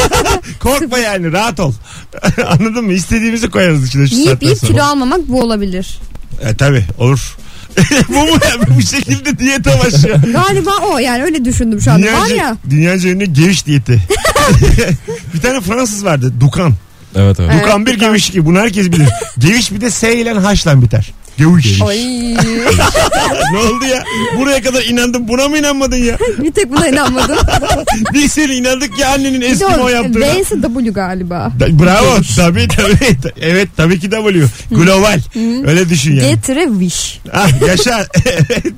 Speaker 2: Korkma yani rahat ol. Anladın mı? İstediğimizi koyarız içine şu
Speaker 3: Yiyip
Speaker 2: saatten
Speaker 3: yiyip
Speaker 2: sonra.
Speaker 3: kilo almamak bu olabilir.
Speaker 2: E tabi olur. Bu mu ya? Bu şekilde diyete başlıyor.
Speaker 3: Galiba o yani öyle düşündüm şu anda. Var
Speaker 2: Dünyaca,
Speaker 3: ya
Speaker 2: dünyaca ünlü geviş diyeti. bir tane Fransız vardı. Dukan.
Speaker 4: Evet evet.
Speaker 3: Evet,
Speaker 2: Dukan bir geviş iki. Bunu herkes bilir. Geviş bir de S ile H'la biter. Geviş.
Speaker 3: Ay,
Speaker 2: ne oldu ya? Buraya kadar inandım. Buna mı inanmadın ya?
Speaker 3: bir tek buna inanmadım.
Speaker 2: Biz seni inandık ya annenin
Speaker 3: Bir de
Speaker 2: eski
Speaker 3: o
Speaker 2: o yaptığına.
Speaker 3: V'si W galiba.
Speaker 2: Da- Bravo. Tabii tabii. Evet tabii ki W. Global. Öyle düşün yani.
Speaker 3: Getire wish.
Speaker 2: Ah, yaşa. evet.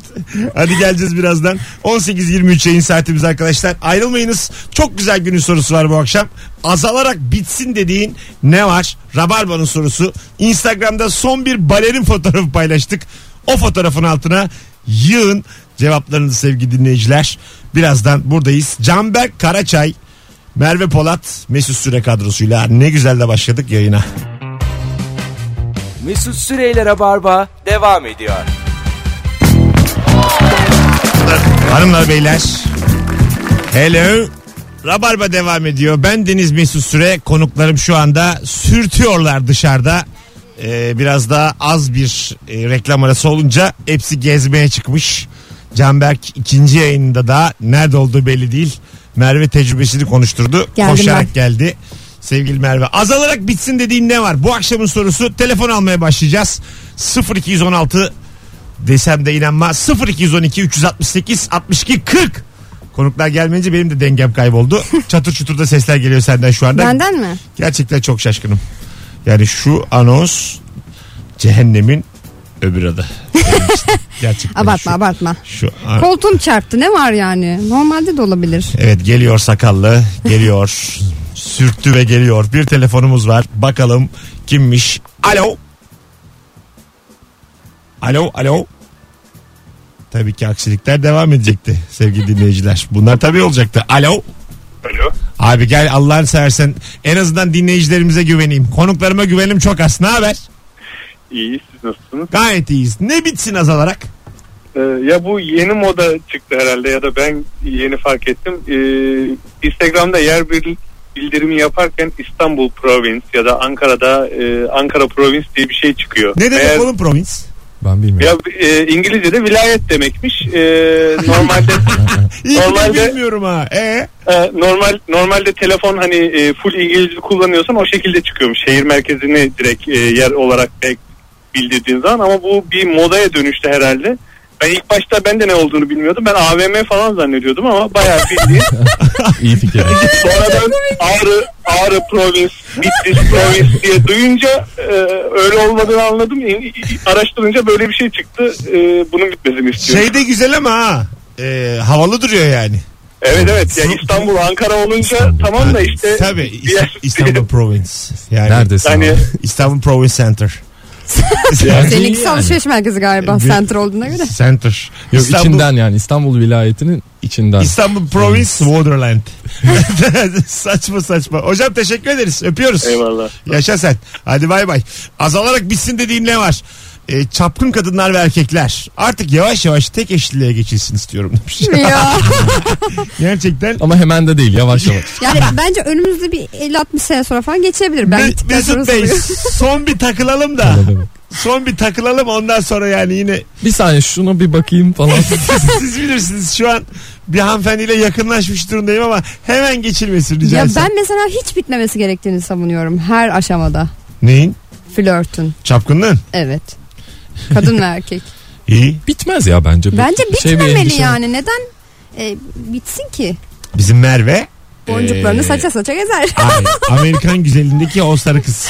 Speaker 2: Hadi geleceğiz birazdan. 18.23 yayın saatimiz arkadaşlar. Ayrılmayınız. Çok güzel günün sorusu var bu akşam. Azalarak bitsin dediğin ne var? Rabarba'nın sorusu. Instagram'da son bir balerin fotoğrafı paylaştık. O fotoğrafın altına yığın cevaplarınızı sevgili dinleyiciler. Birazdan buradayız. Canberk Karaçay, Merve Polat, Mesut Süre kadrosuyla ne güzel de başladık yayına.
Speaker 1: Mesut Süreyler'e barba devam ediyor.
Speaker 2: Hanımlar beyler. Hello. Rabarba devam ediyor. Ben Deniz Mesut Süre. Konuklarım şu anda sürtüyorlar dışarıda. Ee, biraz daha az bir e, reklam arası olunca hepsi gezmeye çıkmış. Canberk ikinci yayında da nerede olduğu belli değil. Merve tecrübesini konuşturdu.
Speaker 3: Geldim
Speaker 2: Koşarak
Speaker 3: ben.
Speaker 2: geldi. Sevgili Merve azalarak bitsin dediğin ne var? Bu akşamın sorusu telefon almaya başlayacağız. 0216 desem de inanma 0212 368 62 40 Konuklar gelmeyince benim de dengem kayboldu. Çatır çutur da sesler geliyor senden şu anda.
Speaker 3: Benden mi?
Speaker 2: Gerçekten çok şaşkınım. Yani şu anons cehennemin öbür adı. Yani işte Gerçekten
Speaker 3: Abartma abartma.
Speaker 2: şu, şu an-
Speaker 3: Koltuğum çarptı ne var yani? Normalde de olabilir.
Speaker 2: Evet geliyor sakallı geliyor sürttü ve geliyor. Bir telefonumuz var bakalım kimmiş. Alo. Alo alo. Tabii ki aksilikler devam edecekti sevgili dinleyiciler. Bunlar tabii olacaktı. Alo.
Speaker 7: Alo.
Speaker 2: Abi gel Allah'ını seversen en azından dinleyicilerimize güveneyim. Konuklarıma güvenim çok az. Ne haber?
Speaker 7: İyi siz nasılsınız?
Speaker 2: Gayet iyiyiz. Ne bitsin azalarak?
Speaker 7: Ee, ya bu yeni moda çıktı herhalde ya da ben yeni fark ettim. Ee, Instagram'da yer bir bildirimi yaparken İstanbul Province ya da Ankara'da e, Ankara Province diye bir şey çıkıyor.
Speaker 2: Ne demek
Speaker 7: Eğer-
Speaker 2: oğlum provins?
Speaker 4: Ben bilmiyorum.
Speaker 7: Ya e, İngilizce'de vilayet demekmiş. E, normalde
Speaker 2: İyi ki de
Speaker 7: Normalde-
Speaker 2: bilmiyorum ha. Ee?
Speaker 7: e, normal normalde telefon hani e, full İngilizce kullanıyorsan o şekilde çıkıyormuş. Şehir merkezini direkt e, yer olarak direkt bildirdiğin zaman ama bu bir modaya dönüştü herhalde. Ben ilk başta ben de ne olduğunu bilmiyordum. Ben AVM falan zannediyordum ama bayağı bildiğin.
Speaker 4: İyi fikir.
Speaker 7: Sonra ben Ağrı, Ağrı Provins, Bitlis Provins diye duyunca e, öyle olmadığını anladım. İ- i- i- Araştırınca böyle bir şey çıktı. E, bunun bitmesini istiyorum.
Speaker 2: Şey de güzel ama ha. Ee, havalı duruyor yani.
Speaker 7: evet evet. Ya İstanbul, Ankara olunca tamam da işte.
Speaker 2: Tabii
Speaker 7: bir
Speaker 2: İs-
Speaker 7: yer-
Speaker 2: İstanbul Province. Yani
Speaker 4: Neredesin?
Speaker 7: Yani
Speaker 4: abi?
Speaker 2: İstanbul Province Center.
Speaker 4: Yani
Speaker 3: Seninkisi
Speaker 4: yani.
Speaker 3: alışveriş merkezi galiba
Speaker 2: Bir-
Speaker 3: center olduğuna göre.
Speaker 2: Center.
Speaker 4: Yok
Speaker 2: İstanbul,
Speaker 4: içinden yani İstanbul vilayetinin içinden.
Speaker 2: İstanbul Province Waterland. saçma saçma. Hocam teşekkür ederiz. Öpüyoruz.
Speaker 7: Eyvallah.
Speaker 2: Yaşa sen. Hadi bay bay. Azalarak bitsin dediğin ne var? E, çapkın kadınlar ve erkekler artık yavaş yavaş tek eşliliğe geçilsin istiyorum demiş.
Speaker 3: ya.
Speaker 2: Gerçekten
Speaker 4: Ama hemen de değil yavaş yavaş.
Speaker 3: Yani bence önümüzde bir 50-60 sene sonra falan geçebilir. Ben
Speaker 2: Me-
Speaker 3: gittikten sonra
Speaker 2: Mesut Bey
Speaker 3: soruyorum.
Speaker 2: son bir takılalım da son bir takılalım ondan sonra yani yine
Speaker 4: bir saniye şuna bir bakayım falan.
Speaker 2: siz bilirsiniz şu an bir hanımefendiyle yakınlaşmış durumdayım ama hemen geçilmesin rica
Speaker 3: Ya
Speaker 2: etsem.
Speaker 3: ben mesela hiç bitmemesi gerektiğini savunuyorum her aşamada.
Speaker 2: Neyin?
Speaker 3: Flörtün.
Speaker 2: Çapkınlığın?
Speaker 3: Evet. Kadın ve erkek.
Speaker 2: İyi.
Speaker 4: Bitmez ya bence. bu.
Speaker 3: Bence
Speaker 4: Şey bir
Speaker 3: bitmemeli
Speaker 4: endişe-
Speaker 3: yani. Neden e, bitsin ki?
Speaker 2: Bizim Merve.
Speaker 3: Boncuklarını
Speaker 2: ee,
Speaker 3: saça saça gezer.
Speaker 2: Ay, Amerikan güzelindeki o sarı kız.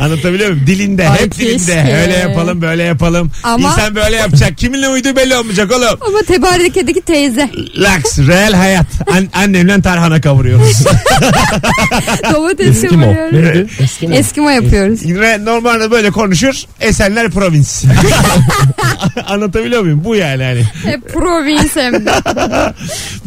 Speaker 2: Anlatabiliyor muyum? Dilinde,
Speaker 3: Ay,
Speaker 2: hep dilinde.
Speaker 3: keşke.
Speaker 2: Öyle yapalım, böyle yapalım.
Speaker 3: Ama-
Speaker 2: İnsan böyle yapacak. Kiminle uyduğu belli olmayacak oğlum.
Speaker 3: Ama tebarekedeki teyze.
Speaker 2: Laks, real hayat. An- annemle tarhana kavuruyoruz.
Speaker 3: Domates
Speaker 4: Eskimo.
Speaker 3: yapıyoruz.
Speaker 4: Neydi? Eskimo.
Speaker 3: Eskimo yapıyoruz.
Speaker 2: Re- Normalde böyle konuşur. Esenler provins. Anlatabiliyor muyum? Bu yani hani.
Speaker 3: Hep provins hem de.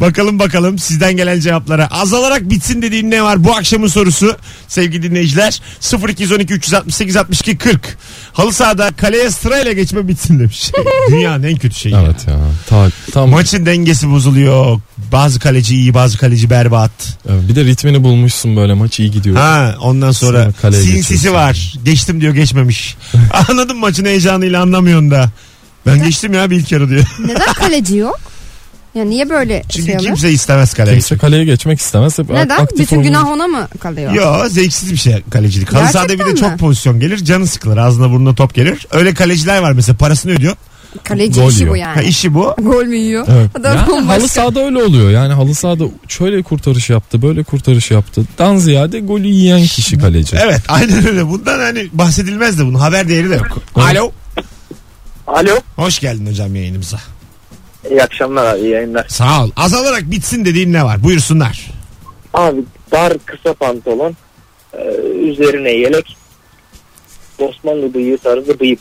Speaker 2: Bakalım bakalım sizden gelen cevaplara. Azalarak bitsin dediğin ne var? Bu akşamın sorusu sevgili dinleyiciler. 0212 368 62 40. Halı sahada kaleye sırayla geçme bitsin demiş. Dünyanın en kötü şeyi.
Speaker 4: Evet ya. Ta, tam.
Speaker 2: Maçın dengesi bozuluyor. Bazı kaleci iyi bazı kaleci berbat.
Speaker 4: Evet, Bir de ritmini bulmuşsun böyle maç iyi gidiyor.
Speaker 2: Ha ondan sonra
Speaker 4: Sonra kaleye
Speaker 2: sinsisi
Speaker 4: geçiyorsun.
Speaker 2: var. Geçtim diyor geçmemiş. Anladın mı? maçın heyecanıyla anlamıyorsun da. Ben geçtim ya bir ilk yarı diyor.
Speaker 3: Neden kaleci yok? Ya niye böyle şey
Speaker 2: Çünkü
Speaker 3: oluyor?
Speaker 2: kimse istemez kaleye.
Speaker 4: Kimse kaleye geçmek istemez. Hep
Speaker 3: Neden?
Speaker 4: aktif
Speaker 3: Bütün
Speaker 4: olmayı-
Speaker 3: günah ona mı kalıyor?
Speaker 2: Yo zevksiz bir şey kalecilik. Halı sahada bir de
Speaker 3: Gerçekten
Speaker 2: çok
Speaker 3: mi?
Speaker 2: pozisyon gelir. Canı sıkılır. Ağzına burnuna top gelir. Öyle kaleciler var mesela parasını ödüyor.
Speaker 3: Kaleci
Speaker 4: Gol
Speaker 3: işi
Speaker 4: yiyor.
Speaker 3: bu
Speaker 2: Ha,
Speaker 3: yani.
Speaker 2: işi bu.
Speaker 3: Gol mü yiyor?
Speaker 4: Evet.
Speaker 3: Adam
Speaker 4: Yani
Speaker 3: bambaşka.
Speaker 4: halı sahada öyle oluyor. Yani halı sahada şöyle kurtarış yaptı, böyle kurtarış yaptı. Dan ziyade golü yiyen kişi kaleci.
Speaker 2: Evet aynen öyle. Bundan hani bahsedilmez de bunun haber değeri de yok.
Speaker 4: Evet.
Speaker 2: Alo.
Speaker 5: Alo.
Speaker 2: Hoş geldin hocam yayınımıza.
Speaker 5: İyi akşamlar abi iyi yayınlar.
Speaker 2: Sağ ol. Azalarak bitsin dediğin ne var? Buyursunlar.
Speaker 5: Abi dar kısa pantolon e, üzerine yelek Osmanlı bıyığı tarzı bıyık.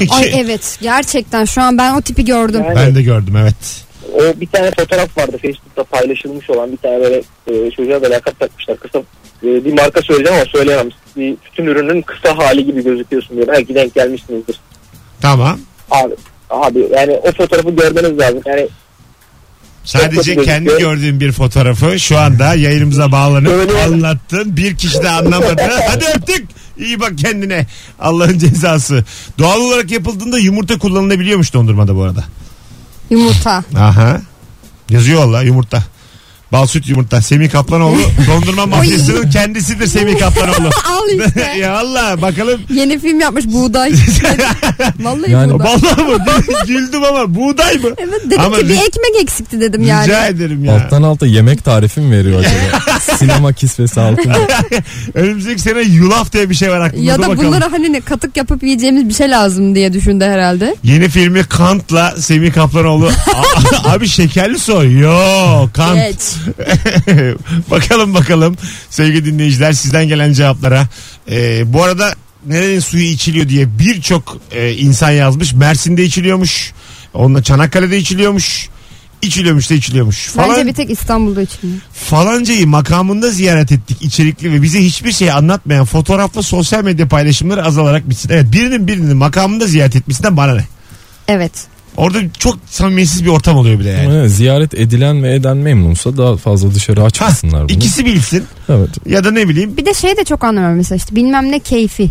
Speaker 3: Ay evet gerçekten şu an ben o tipi gördüm.
Speaker 5: Yani
Speaker 2: Ben de gördüm evet.
Speaker 5: o bir tane fotoğraf vardı Facebook'ta paylaşılmış olan bir tane böyle e, çocuğa da lakap takmışlar. Kısa e, bir marka söyleyeceğim ama söyleyemem. Bir, bütün ürünün kısa hali gibi gözüküyorsun diyor. Belki denk gelmişsinizdir.
Speaker 2: Tamam.
Speaker 5: Abi, abi yani o fotoğrafı görmeniz lazım. Yani
Speaker 2: Sadece
Speaker 5: Çok
Speaker 2: kendi
Speaker 5: güzel.
Speaker 2: gördüğüm bir fotoğrafı şu anda yayınımıza bağlanıp
Speaker 5: Öyle.
Speaker 2: anlattın. Bir kişi de anlamadı. Hadi öptük. İyi bak kendine. Allah'ın cezası. Doğal olarak yapıldığında yumurta kullanılabiliyormuş dondurmada bu arada.
Speaker 3: Yumurta.
Speaker 2: Aha. Yazıyor valla yumurta. Bal süt yumurta. Semih Kaplanoğlu dondurma mafyasının kendisidir Semih Kaplanoğlu.
Speaker 3: Al işte.
Speaker 2: ya Allah bakalım.
Speaker 3: Yeni film yapmış buğday. Vallahi
Speaker 4: Yani-
Speaker 3: buğday.
Speaker 2: Vallahi mı? Güldüm ama buğday mı?
Speaker 3: Evet dedim
Speaker 2: Ama
Speaker 3: ki bir
Speaker 2: ri-
Speaker 3: ekmek eksikti dedim yani.
Speaker 2: Rica ederim ya.
Speaker 4: Alttan alta yemek tarifi mi veriyor acaba? Sinema kisvesi altında.
Speaker 2: Önümüzdeki sene yulaf diye bir şey var aklımda.
Speaker 3: Ya
Speaker 2: Dur
Speaker 3: da
Speaker 2: bakalım.
Speaker 3: bunlara hani ne, katık yapıp yiyeceğimiz bir şey lazım diye düşündü herhalde.
Speaker 2: Yeni filmi Kant'la Semih Kaplanoğlu. A- Abi şekerli soy. Yo Kant.
Speaker 3: Geç.
Speaker 2: bakalım bakalım sevgili dinleyiciler sizden gelen cevaplara. Ee, bu arada nerenin suyu içiliyor diye birçok e, insan yazmış. Mersin'de içiliyormuş. Onunla Çanakkale'de içiliyormuş. İçiliyormuş da içiliyormuş.
Speaker 3: Bence
Speaker 2: Falan,
Speaker 3: bir tek İstanbul'da için.
Speaker 2: Falancayı makamında ziyaret ettik içerikli ve bize hiçbir şey anlatmayan fotoğrafla sosyal medya paylaşımları azalarak bitsin. Evet birinin birinin makamında ziyaret etmesinden bana ne?
Speaker 3: Evet.
Speaker 2: Orada çok samimiyetsiz bir ortam oluyor bir de yani.
Speaker 4: Evet, ziyaret edilen ve eden memnunsa daha fazla dışarı açmasınlar bunu.
Speaker 2: İkisi bilsin
Speaker 4: Evet.
Speaker 2: ya da ne bileyim.
Speaker 3: Bir de şey de çok anlamıyorum mesela işte bilmem ne keyfi.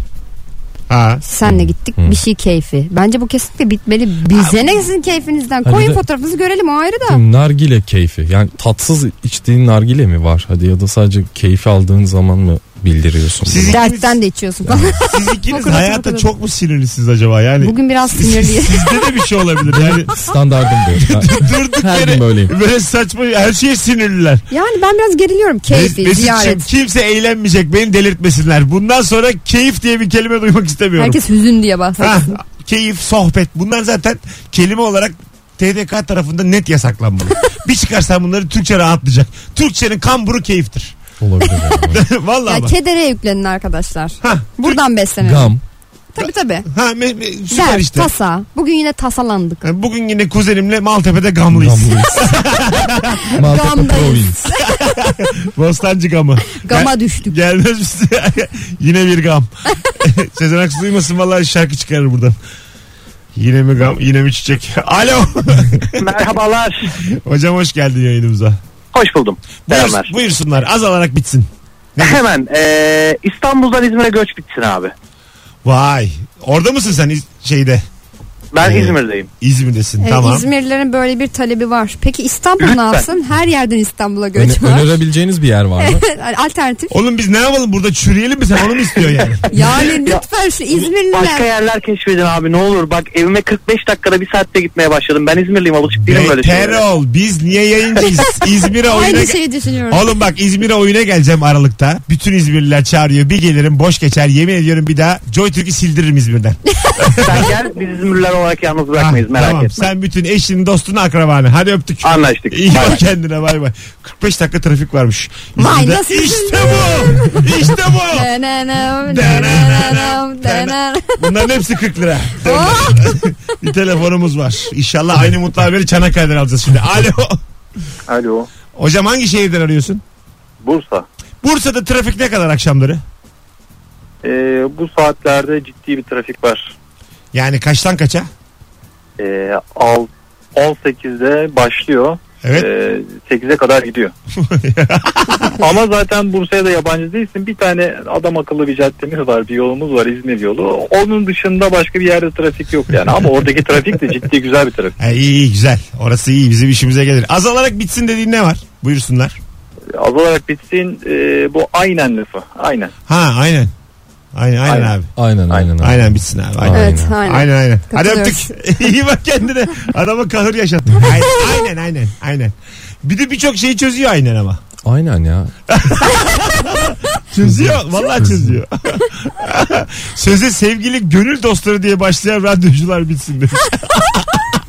Speaker 2: Ha.
Speaker 3: Senle gittik bir şey keyfi. Bence bu kesinlikle bitmeli. Bize ne sizin keyfinizden?
Speaker 4: Ha, bir
Speaker 3: Koyun
Speaker 4: de-
Speaker 3: fotoğrafınızı görelim o ayrı da.
Speaker 4: Şimdi nargile keyfi. Yani tatsız içtiğin nargile mi var? Hadi ya da sadece keyfi aldığın zaman mı bildiriyorsun?
Speaker 2: Siz-
Speaker 4: bunu?
Speaker 3: Dertten de içiyorsun falan.
Speaker 2: Siz ikiniz
Speaker 3: Fokurası
Speaker 2: hayata
Speaker 3: fokurası.
Speaker 2: çok mu sinirlisiniz acaba yani?
Speaker 3: Bugün biraz sinirliyim.
Speaker 2: Sizde de bir şey olabilir yani.
Speaker 4: Standardım bu.
Speaker 2: Durduk
Speaker 4: Her
Speaker 2: yere
Speaker 4: gün böyleyim.
Speaker 2: böyle saçma her şeye sinirliler.
Speaker 3: yani ben biraz geriliyorum keyfi,
Speaker 2: Mes- Mesut'cum,
Speaker 3: ziyaret.
Speaker 2: kimse eğlenmeyecek beni delirtmesinler. Bundan sonra keyif diye bir kelime duymak istemiyorum.
Speaker 3: Herkes hüzün diye
Speaker 2: Ha,
Speaker 3: bahsediyor.
Speaker 2: keyif, sohbet bunlar zaten kelime olarak TDK tarafından net yasaklanmalı. bir çıkarsan bunları Türkçe rahatlayacak. Türkçenin kamburu keyiftir.
Speaker 4: Olabilir. yani.
Speaker 2: Vallahi
Speaker 3: Ya
Speaker 2: bak.
Speaker 3: kedere yüklenin arkadaşlar.
Speaker 2: Ha,
Speaker 3: Buradan beslenelim.
Speaker 4: Gam.
Speaker 3: Tabii tabii.
Speaker 2: ha, me- me- süper
Speaker 3: Dert,
Speaker 2: işte.
Speaker 3: tasa. Bugün yine tasalandık.
Speaker 2: Ha, Bugün yine kuzenimle Maltepe'de gamlıyız.
Speaker 4: Gamlıyız. Maltepe
Speaker 3: Gamdayız.
Speaker 4: Province.
Speaker 2: Bostancı gamı.
Speaker 3: Gama düştük.
Speaker 2: Gelmez misin? Yine bir gam. Sezen Aksu duymasın vallahi şarkı çıkarır buradan. Yine mi gam? Yine mi çiçek? Alo.
Speaker 8: Merhabalar.
Speaker 2: Hocam hoş geldin yayınımıza.
Speaker 8: Hoş buldum.
Speaker 2: Buyur,
Speaker 8: Selamlar.
Speaker 2: buyursunlar. Az alarak bitsin.
Speaker 8: Hemen eee, İstanbul'dan İzmir'e göç bitsin abi.
Speaker 2: Vay. Orada mısın sen İz- şeyde?
Speaker 8: Ben
Speaker 5: Hmm.
Speaker 2: Ee,
Speaker 8: İzmir'deyim.
Speaker 2: İzmir'desin.
Speaker 3: Ee,
Speaker 2: E, tamam.
Speaker 3: İzmirlilerin böyle bir talebi var. Peki İstanbul ne
Speaker 8: Lütfen.
Speaker 3: yapsın? Her yerden İstanbul'a
Speaker 4: Öne-
Speaker 3: göç var.
Speaker 4: Hani önerebileceğiniz bir yer var mı?
Speaker 3: Alternatif.
Speaker 2: Oğlum biz ne yapalım burada çürüyelim mi sen onu mu istiyor yani?
Speaker 3: Yani lütfen şu
Speaker 8: Başka
Speaker 3: İzmirliler.
Speaker 8: yerler keşfedin abi ne olur. Bak evime 45 dakikada bir saatte gitmeye başladım. Ben İzmirliyim alışık değilim böyle
Speaker 2: Beter
Speaker 8: şeylere.
Speaker 2: ol. Biz niye yayıncıyız? İzmir'e oyuna...
Speaker 3: Aynı
Speaker 2: ge-
Speaker 3: şeyi düşünüyorum.
Speaker 2: Oğlum bak İzmir'e oyuna geleceğim Aralık'ta. Bütün İzmirliler çağırıyor. Bir gelirim boş geçer. Yemin ediyorum bir daha Joy Türk'ü sildiririm İzmir'den.
Speaker 8: Sen gel biz İzmirliler olarak yalnız bırakmayız
Speaker 2: Ah,
Speaker 8: merak
Speaker 2: tamam. Ah,
Speaker 8: etme.
Speaker 2: Sen bütün eşini, dostunu, akrabanı. Hadi öptük.
Speaker 8: Anlaştık.
Speaker 2: İyi
Speaker 8: Bay
Speaker 2: bak
Speaker 8: bay.
Speaker 2: kendine bay bay. 45 dakika trafik varmış.
Speaker 3: Vay,
Speaker 2: İzmir'de-
Speaker 3: nasıl
Speaker 2: İşte bu. İşte bu. Denenam,
Speaker 3: Denenam, denenam, denenam.
Speaker 2: Bunların hepsi 40 lira. bir telefonumuz var. İnşallah aynı mutlu haberi Çanakkale'den alacağız şimdi. Alo.
Speaker 7: Alo.
Speaker 2: Hocam hangi şehirden arıyorsun?
Speaker 7: Bursa.
Speaker 2: Bursa'da trafik ne kadar akşamları?
Speaker 7: Ee, bu saatlerde ciddi bir trafik var.
Speaker 2: Yani kaçtan kaça?
Speaker 7: Ee, al, 18'de başlıyor.
Speaker 2: Evet.
Speaker 7: Ee, 8'e kadar gidiyor. Ama zaten Bursa'ya da yabancı değilsin. Bir tane adam akıllı bir caddemiz var, bir yolumuz var İzmir yolu. Onun dışında başka bir yerde trafik yok yani. Ama oradaki trafik de ciddi güzel bir trafik.
Speaker 2: Ha, iyi iyi güzel. Orası iyi bizim işimize gelir. Azalarak bitsin dediğin ne var? Buyursunlar.
Speaker 7: Az olarak bitsin e, bu aynen lafı. Aynen.
Speaker 2: Ha aynen. Aynen aynen,
Speaker 7: Aynen.
Speaker 2: abi.
Speaker 4: Aynen aynen. abi.
Speaker 2: Aynen bitsin abi. Aynen.
Speaker 4: Aynen.
Speaker 3: Evet, aynen.
Speaker 2: Aynen aynen. Hadi
Speaker 3: Katılıyoruz.
Speaker 2: öptük. İyi bak kendine. Adama kahır yaşattın. Aynen aynen aynen. aynen. Bir de birçok şeyi çözüyor aynen ama.
Speaker 4: Aynen ya.
Speaker 2: Çözüyor. Vallahi çözüyor. Söze sevgili gönül dostları diye başlayan radyocular bitsin demiş.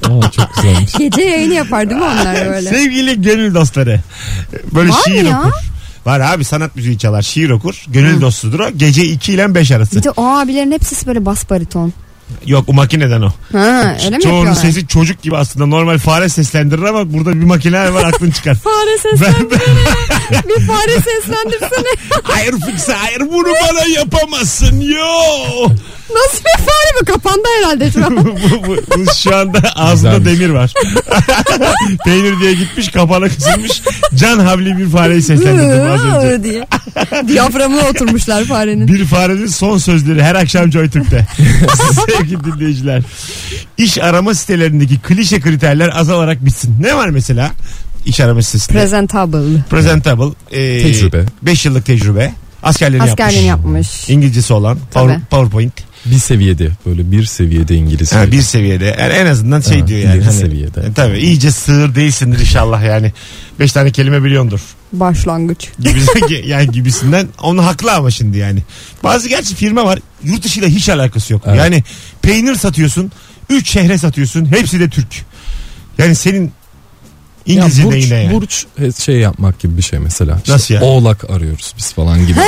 Speaker 4: Aa, çok güzelmiş.
Speaker 3: Gece yayını yapar değil mi onlar böyle?
Speaker 2: sevgili gönül dostları. Böyle
Speaker 3: Var mı
Speaker 2: şiir
Speaker 3: ya?
Speaker 2: okur. Var abi sanat müziği çalar, şiir okur. Gönül dostudur o. Gece 2 ile 5 arası.
Speaker 3: Bir de o abilerin hepsi böyle bas bariton.
Speaker 2: Yok o makineden o.
Speaker 3: Ha, öyle mi
Speaker 2: Çoğunun
Speaker 3: yapıyorlar?
Speaker 2: sesi çocuk gibi aslında. Normal fare seslendirir ama burada bir makine var aklın çıkar.
Speaker 3: Fare seslendirsene. bir fare seslendirsene.
Speaker 2: Hayır Fikse hayır bunu bana yapamazsın. Yo.
Speaker 3: Nasıl bir fare bu? Kapandı herhalde şu an.
Speaker 2: bu, bu- bu şu anda ağzında
Speaker 4: Güzelmiş.
Speaker 2: demir var. Peynir diye gitmiş kapana kısılmış. Can havli bir fareyi seslendirdim az önce.
Speaker 3: Iıı diye. Diyaframına oturmuşlar farenin.
Speaker 2: Bir farenin son sözleri her akşam JoyTürk'te. Sevgili dinleyiciler. İş arama sitelerindeki klişe kriterler azalarak bitsin. Ne var mesela iş arama sitesinde?
Speaker 3: Presentable.
Speaker 2: Presentable. e,
Speaker 4: Tecrübe.
Speaker 2: Beş yıllık tecrübe. Askerliğini
Speaker 3: Askerliğini
Speaker 2: yapmış.
Speaker 3: yapmış.
Speaker 2: İngilizcesi olan.
Speaker 3: Tabii.
Speaker 2: Power- PowerPoint.
Speaker 4: Bir seviyede böyle bir seviyede İngilizce.
Speaker 2: Ha, bir seviyede. Yani en azından şey
Speaker 4: Ha,
Speaker 2: diyor yani.
Speaker 4: ileri
Speaker 2: hani,
Speaker 4: seviyede.
Speaker 2: E, tabii iyice sığır değilsindir inşallah yani. Beş tane kelime biliyordur.
Speaker 3: Başlangıç.
Speaker 2: Gibisi, yani gibisinden. Onu haklı ama şimdi yani. Bazı gerçi firma var. Yurt dışıyla hiç alakası yok.
Speaker 4: Evet.
Speaker 2: Yani peynir satıyorsun. Üç şehre satıyorsun. Hepsi de Türk. Yani senin
Speaker 4: Ya
Speaker 2: İngilizce
Speaker 4: burç,
Speaker 2: neyine yani?
Speaker 4: burç he- şey yapmak gibi bir şey mesela. İşte
Speaker 2: Nasıl yani?
Speaker 4: Oğlak arıyoruz biz falan gibi.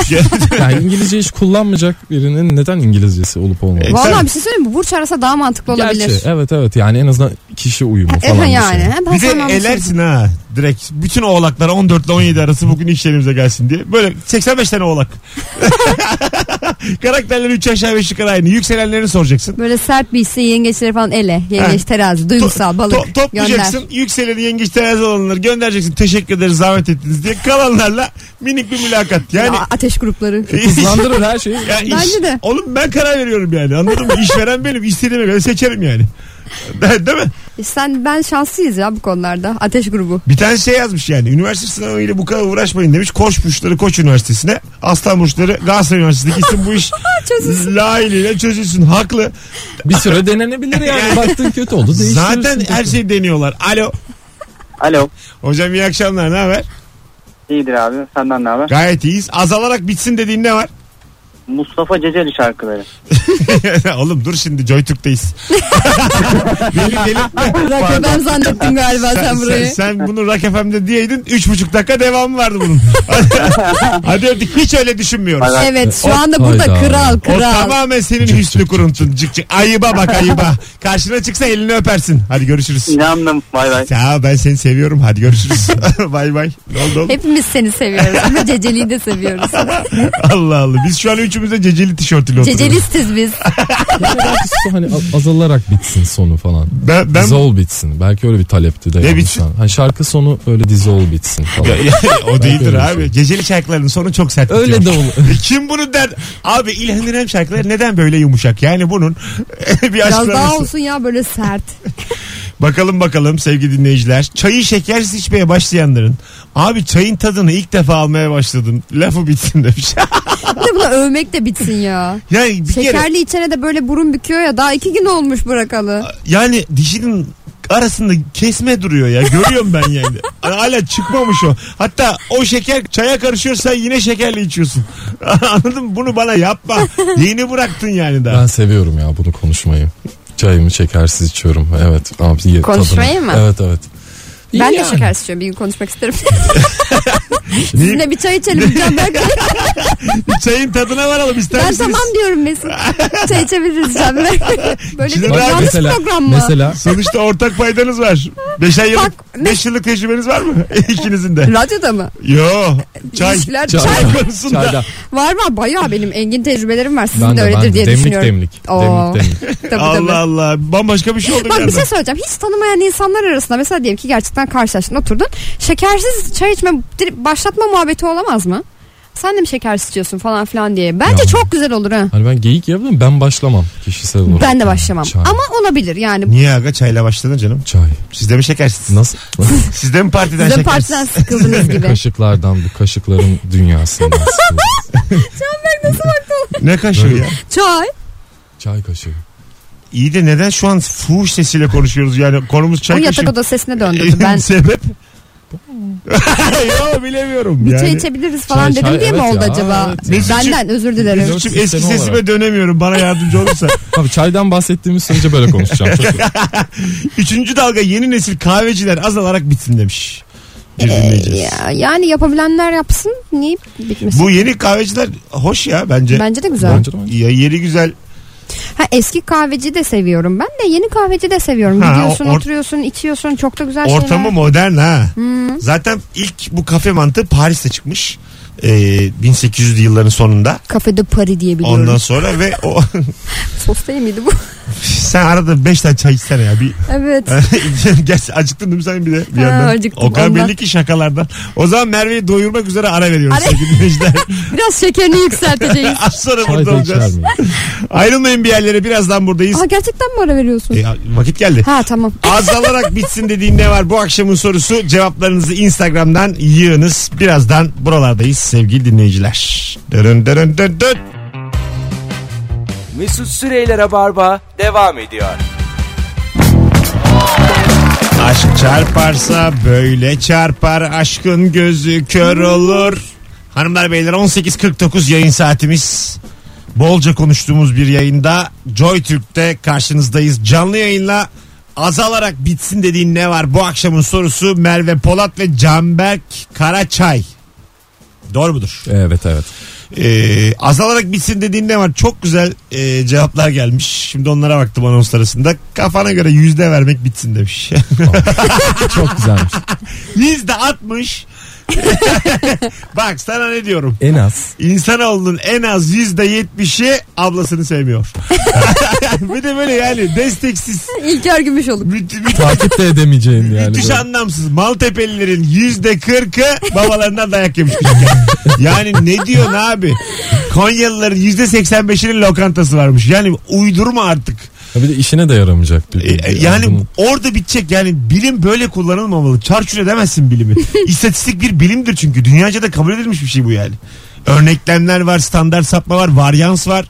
Speaker 4: yani İngilizce hiç kullanmayacak birinin neden İngilizcesi olup olmadığı.
Speaker 2: E,
Speaker 3: Vallahi
Speaker 2: tabii.
Speaker 3: bir şey söyleyeyim mi? Burç arasa daha mantıklı olabilir.
Speaker 4: Gerçi evet evet yani en azından kişi uyumu
Speaker 3: E,
Speaker 4: falan. bir şey.
Speaker 3: yani. Ha, ben
Speaker 2: Bir de
Speaker 3: sevmem bu şeyi.
Speaker 2: elersin ha direkt. Bütün oğlaklar 14 ile 17 arası bugün iş yerimize gelsin diye. Böyle 85 tane oğlak. Karakterleri 3 aşağı 5 yukarı aynı. Yükselenlerini soracaksın.
Speaker 3: Böyle sert bir hisse yengeçleri falan ele. Yengeç terazi duygusal balık
Speaker 2: To- toplayacaksın.
Speaker 3: gönder.
Speaker 2: Yükseleni yengeç terazi olanları göndereceksin. Teşekkür ederiz zahmet ettiniz diye. Kalanlarla minik bir mülakat. Yani
Speaker 3: A- ateş grupları.
Speaker 4: şey. Hızlandırır her şeyi.
Speaker 2: Ya iş-
Speaker 3: Bence de.
Speaker 2: Oğlum ben karar veriyorum yani anladın mı? İşveren benim istediğime göre seçerim yani. De- Değil mi?
Speaker 3: E, Sen ben şanslıyız ya bu konularda. Ateş grubu.
Speaker 2: Bir tane şey yazmış yani. Üniversite sınavıyla bu kadar uğraşmayın demiş. Koç burçları Koç Üniversitesi'ne. Aslan burçları Galatasaray Üniversitesi'ne gitsin bu iş.
Speaker 3: Çözülsün.
Speaker 2: Layığıyla çözülsün. Haklı.
Speaker 4: Bir süre denenebilir yani. Baktın kötü oldu. değiştirirsin
Speaker 2: Zaten
Speaker 4: tekrar.
Speaker 2: her şeyi deniyorlar. Alo.
Speaker 8: Alo.
Speaker 2: Hocam iyi akşamlar ne haber?
Speaker 8: İyidir abi. Senden ne haber?
Speaker 2: Gayet iyiyiz. Azalarak bitsin dediğin ne var?
Speaker 8: Mustafa Ceceli şarkıları.
Speaker 2: Oğlum dur şimdi Joytürk'teyiz. Beni delirtme.
Speaker 3: Bir dakika ben zannettim galiba sen,
Speaker 2: Sen, sen,
Speaker 3: burayı.
Speaker 2: sen bunu Rock FM'de diyeydin. Üç buçuk dakika devamı vardı bunun. Hadi öptük. Hiç öyle düşünmüyoruz.
Speaker 3: Evet şu
Speaker 4: O-
Speaker 3: anda burada
Speaker 4: Hayda.
Speaker 3: kral
Speaker 2: O
Speaker 3: kral.
Speaker 2: tamamen senin hüsnü kuruntun. Cık cık. Ayıba bak ayıba. Karşına çıksa elini öpersin. Hadi görüşürüz.
Speaker 8: İnandım. Bay bay.
Speaker 2: Ya ben seni seviyorum. Hadi görüşürüz. bay bay. Ne oldu oğlum?
Speaker 3: Hepimiz seni seviyoruz ama Ceceli'yi de seviyoruz.
Speaker 2: Allah Allah. Biz şu an üçümüz de ceceli tişörtüyle oturuyoruz.
Speaker 3: Cecelistiz biz.
Speaker 4: Yani belki su hani az- azalarak bitsin sonu falan.
Speaker 2: Ben, ben...
Speaker 4: Dissolve bitsin. Belki öyle bir talepti de. yanlış
Speaker 2: bitsin?
Speaker 4: an. Hani şarkı sonu öyle dissolve bitsin falan.
Speaker 2: Ya, ya, o değildir
Speaker 4: öyle
Speaker 2: abi.
Speaker 4: şey.
Speaker 2: Geceli şarkıların sonu çok sert.
Speaker 4: öyle de
Speaker 2: bitiyor.
Speaker 4: olur.
Speaker 2: E Kim bunu der? Abi İlhan İrem şarkıları neden böyle yumuşak? Yani bunun bir
Speaker 3: Biraz daha
Speaker 2: açıklaması.
Speaker 3: olsun ya böyle sert.
Speaker 2: Bakalım bakalım sevgili dinleyiciler. Çayı şekersiz içmeye başlayanların. Abi çayın tadını ilk defa almaya başladım. Lafı bitsin demiş.
Speaker 3: Bir de buna övmek de bitsin ya.
Speaker 2: yani bir kere
Speaker 3: Şekerli içene de böyle burun büküyor ya daha iki gün olmuş bırakalı.
Speaker 2: yani dişinin arasında kesme duruyor ya. Görüyorum ben yani. Hala çıkmamış o. Hatta o şeker çaya karışıyorsa yine şekerle içiyorsun. Anladın mı? Bunu bana yapma. Yeni bıraktın yani daha.
Speaker 4: Ben seviyorum ya bunu konuşmayı. Çayımı şekersiz içiyorum. Evet. Abi, iyi,
Speaker 3: Konuşmayı
Speaker 4: tadına.
Speaker 3: mı?
Speaker 4: Evet evet. İyi
Speaker 3: ben de
Speaker 4: yani.
Speaker 3: şeker istiyorum bir gün konuşmak isterim. Sizinle bir çay içelim. Can Berk.
Speaker 2: Çayın tadına varalım ister
Speaker 3: ben
Speaker 2: misiniz?
Speaker 3: tamam diyorum Mesut. Çay içebiliriz Can Berk. Böyle
Speaker 2: Şimdi
Speaker 3: bir
Speaker 2: ben-
Speaker 3: yanlış program mı?
Speaker 4: Mesela
Speaker 2: Sonuçta ortak paydanız var. Beşer yıllık,
Speaker 3: Bak-
Speaker 2: beş yıllık tecrübeniz var mı? İkinizin de.
Speaker 3: Radyoda mı?
Speaker 2: Yo. Çay.
Speaker 3: İlişkiler-
Speaker 4: Çay.
Speaker 2: Çay konusunda.
Speaker 4: çayda.
Speaker 3: Var var bayağı benim engin tecrübelerim var. Sizin
Speaker 4: Ben
Speaker 3: de
Speaker 4: de, ben
Speaker 3: öyledir
Speaker 4: de.
Speaker 3: diye
Speaker 4: Demlik
Speaker 3: düşünüyorum.
Speaker 4: demlik.
Speaker 3: Oo.
Speaker 4: Demlik demlik.
Speaker 3: Tabii, tabii.
Speaker 2: Allah Allah. Bambaşka bir şey oldu bir
Speaker 3: Bak bir
Speaker 2: anda.
Speaker 3: şey söyleyeceğim. Hiç tanımayan insanlar arasında mesela diyelim ki gerçekten karşılaştın oturdun. Şekersiz çay içme direkt başlatma muhabbeti olamaz mı? Sen de mi şekersiz içiyorsun falan filan diye. Bence
Speaker 4: Ya.
Speaker 3: çok güzel olur ha.
Speaker 4: Hani ben geyik yapıyorum ben başlamam kişisel olarak.
Speaker 3: Ben de başlamam.
Speaker 4: Çay.
Speaker 3: Ama olabilir yani.
Speaker 2: Niye aga çayla başladın canım?
Speaker 4: Çay.
Speaker 2: Siz de mi şekersiniz?
Speaker 4: Nasıl? Nasıl?
Speaker 2: Siz de mi partiden
Speaker 3: Sizin
Speaker 2: şekersiniz?
Speaker 3: partiden sıkıldınız gibi.
Speaker 4: Kaşıklardan bu kaşıkların dünyasından.
Speaker 2: Ne kaşığı ya?
Speaker 3: Çay.
Speaker 4: Çay kaşığı.
Speaker 2: İyi de neden şu an fuhuş sesiyle konuşuyoruz? Yani konumuz
Speaker 3: O
Speaker 2: çay kaşığı.
Speaker 3: yatak odası sesine döndürdü. Ben
Speaker 2: Sebep? Yo bilemiyorum
Speaker 3: bir
Speaker 2: yani.
Speaker 3: çay içebiliriz falan
Speaker 4: Çay,
Speaker 3: dedim
Speaker 4: çay,
Speaker 3: diye mi
Speaker 4: evet
Speaker 3: oldu
Speaker 4: ya,
Speaker 3: acaba?
Speaker 4: evet ya.
Speaker 2: Mesut'cum-
Speaker 3: Benden özür dilerim.
Speaker 2: Mesut'cum
Speaker 4: Sistemi
Speaker 2: eski sesime
Speaker 4: olarak.
Speaker 2: dönemiyorum bana yardımcı olursa.
Speaker 4: Abi çaydan bahsettiğimiz sürece böyle konuşacağım. Çok-
Speaker 2: Üçüncü dalga yeni nesil kahveciler azalarak bitsin demiş. Bir dinleyicimiz.
Speaker 3: Ya, yani yapabilenler yapsın. Niye bitmesin?
Speaker 2: Bu yeni kahveciler hoş ya bence.
Speaker 3: Bence de güzel.
Speaker 4: Bence de bence.
Speaker 2: Ya yeri güzel.
Speaker 3: Ha, eski kahveci de seviyorum. Ben de yeni kahveci de seviyorum.
Speaker 2: Ha,
Speaker 3: Gidiyorsun,
Speaker 2: o- or-
Speaker 3: oturuyorsun, içiyorsun. Çok da güzel
Speaker 2: Ortamı
Speaker 3: şeyler.
Speaker 2: modern ha. Zaten ilk bu kafe mantığı Paris'te çıkmış. Ee, 1800'lü yılların sonunda.
Speaker 3: Kafede pari diye biliyorum.
Speaker 2: Ondan sonra ve o
Speaker 3: Sos değil miydi bu?
Speaker 2: sen arada 5 tane çay içsene ya. Bir
Speaker 3: evet.
Speaker 2: Gel, acıktın değil mi sen bir de bir
Speaker 3: Ha,
Speaker 2: yandan?
Speaker 3: acıktım,
Speaker 2: o kadar
Speaker 3: ondan.
Speaker 2: belli ki şakalardan. O zaman Merve'yi doyurmak üzere ara veriyoruz
Speaker 3: Ara-
Speaker 2: sevgili dinleyiciler.
Speaker 3: Biraz şekerini yükselteceğiz.
Speaker 2: Az sonra
Speaker 4: Çay
Speaker 2: burada
Speaker 4: da içer
Speaker 2: olacağız.
Speaker 4: miyim?
Speaker 2: Ayrılmayın bir yerlere birazdan buradayız.
Speaker 3: Aa, gerçekten mi ara veriyorsun?
Speaker 2: E, vakit geldi.
Speaker 3: Ha tamam.
Speaker 2: Azalarak bitsin dediğin ne var? Bu akşamın sorusu cevaplarınızı Instagram'dan yığınız. Birazdan buralardayız sevgili dinleyiciler. Dırın dırın dırın dırın.
Speaker 1: Mesut Süreyler'e barba devam ediyor.
Speaker 2: Aşk çarparsa böyle çarpar. Aşkın gözü kör olur. Hanımlar beyler 18.49 yayın saatimiz. Bolca konuştuğumuz bir yayında Joy Türk'te karşınızdayız. Canlı yayınla azalarak bitsin dediğin ne var? Bu akşamın sorusu Merve Polat ve Canberk Karaçay. Doğru mudur?
Speaker 4: Evet evet.
Speaker 2: Ee, azalarak bitsin dediğin ne var? Çok güzel e, cevaplar gelmiş. Şimdi onlara baktım anons arasında. Kafana göre yüzde vermek bitsin demiş.
Speaker 4: Çok güzelmiş.
Speaker 2: yüzde atmış. Bak sana ne diyorum.
Speaker 4: En az.
Speaker 2: İnsanoğlunun en az yüzde yetmişi ablasını sevmiyor. bir de böyle yani desteksiz.
Speaker 3: İlker Gümüşoluk.
Speaker 2: Müthiş, müthiş,
Speaker 4: Takip de edemeyeceğim yani.
Speaker 2: müthiş
Speaker 4: böyle.
Speaker 2: anlamsız. Maltepelilerin yüzde kırkı babalarından dayak yemiş. küçükken. yani ne diyorsun abi? Konyalıların yüzde seksen beşinin lokantası varmış. Yani uydurma artık.
Speaker 4: Ha Bir de işine de yaramayacak. Bir,
Speaker 2: E,
Speaker 4: bir- bir
Speaker 2: yani
Speaker 4: anladın mı?
Speaker 2: orada bitecek yani bilim böyle kullanılmamalı. Çarçur edemezsin bilimi. İstatistik bir bilimdir çünkü. Dünyaca da kabul edilmiş bir şey bu yani. Örneklemler var, standart sapma var, varyans var.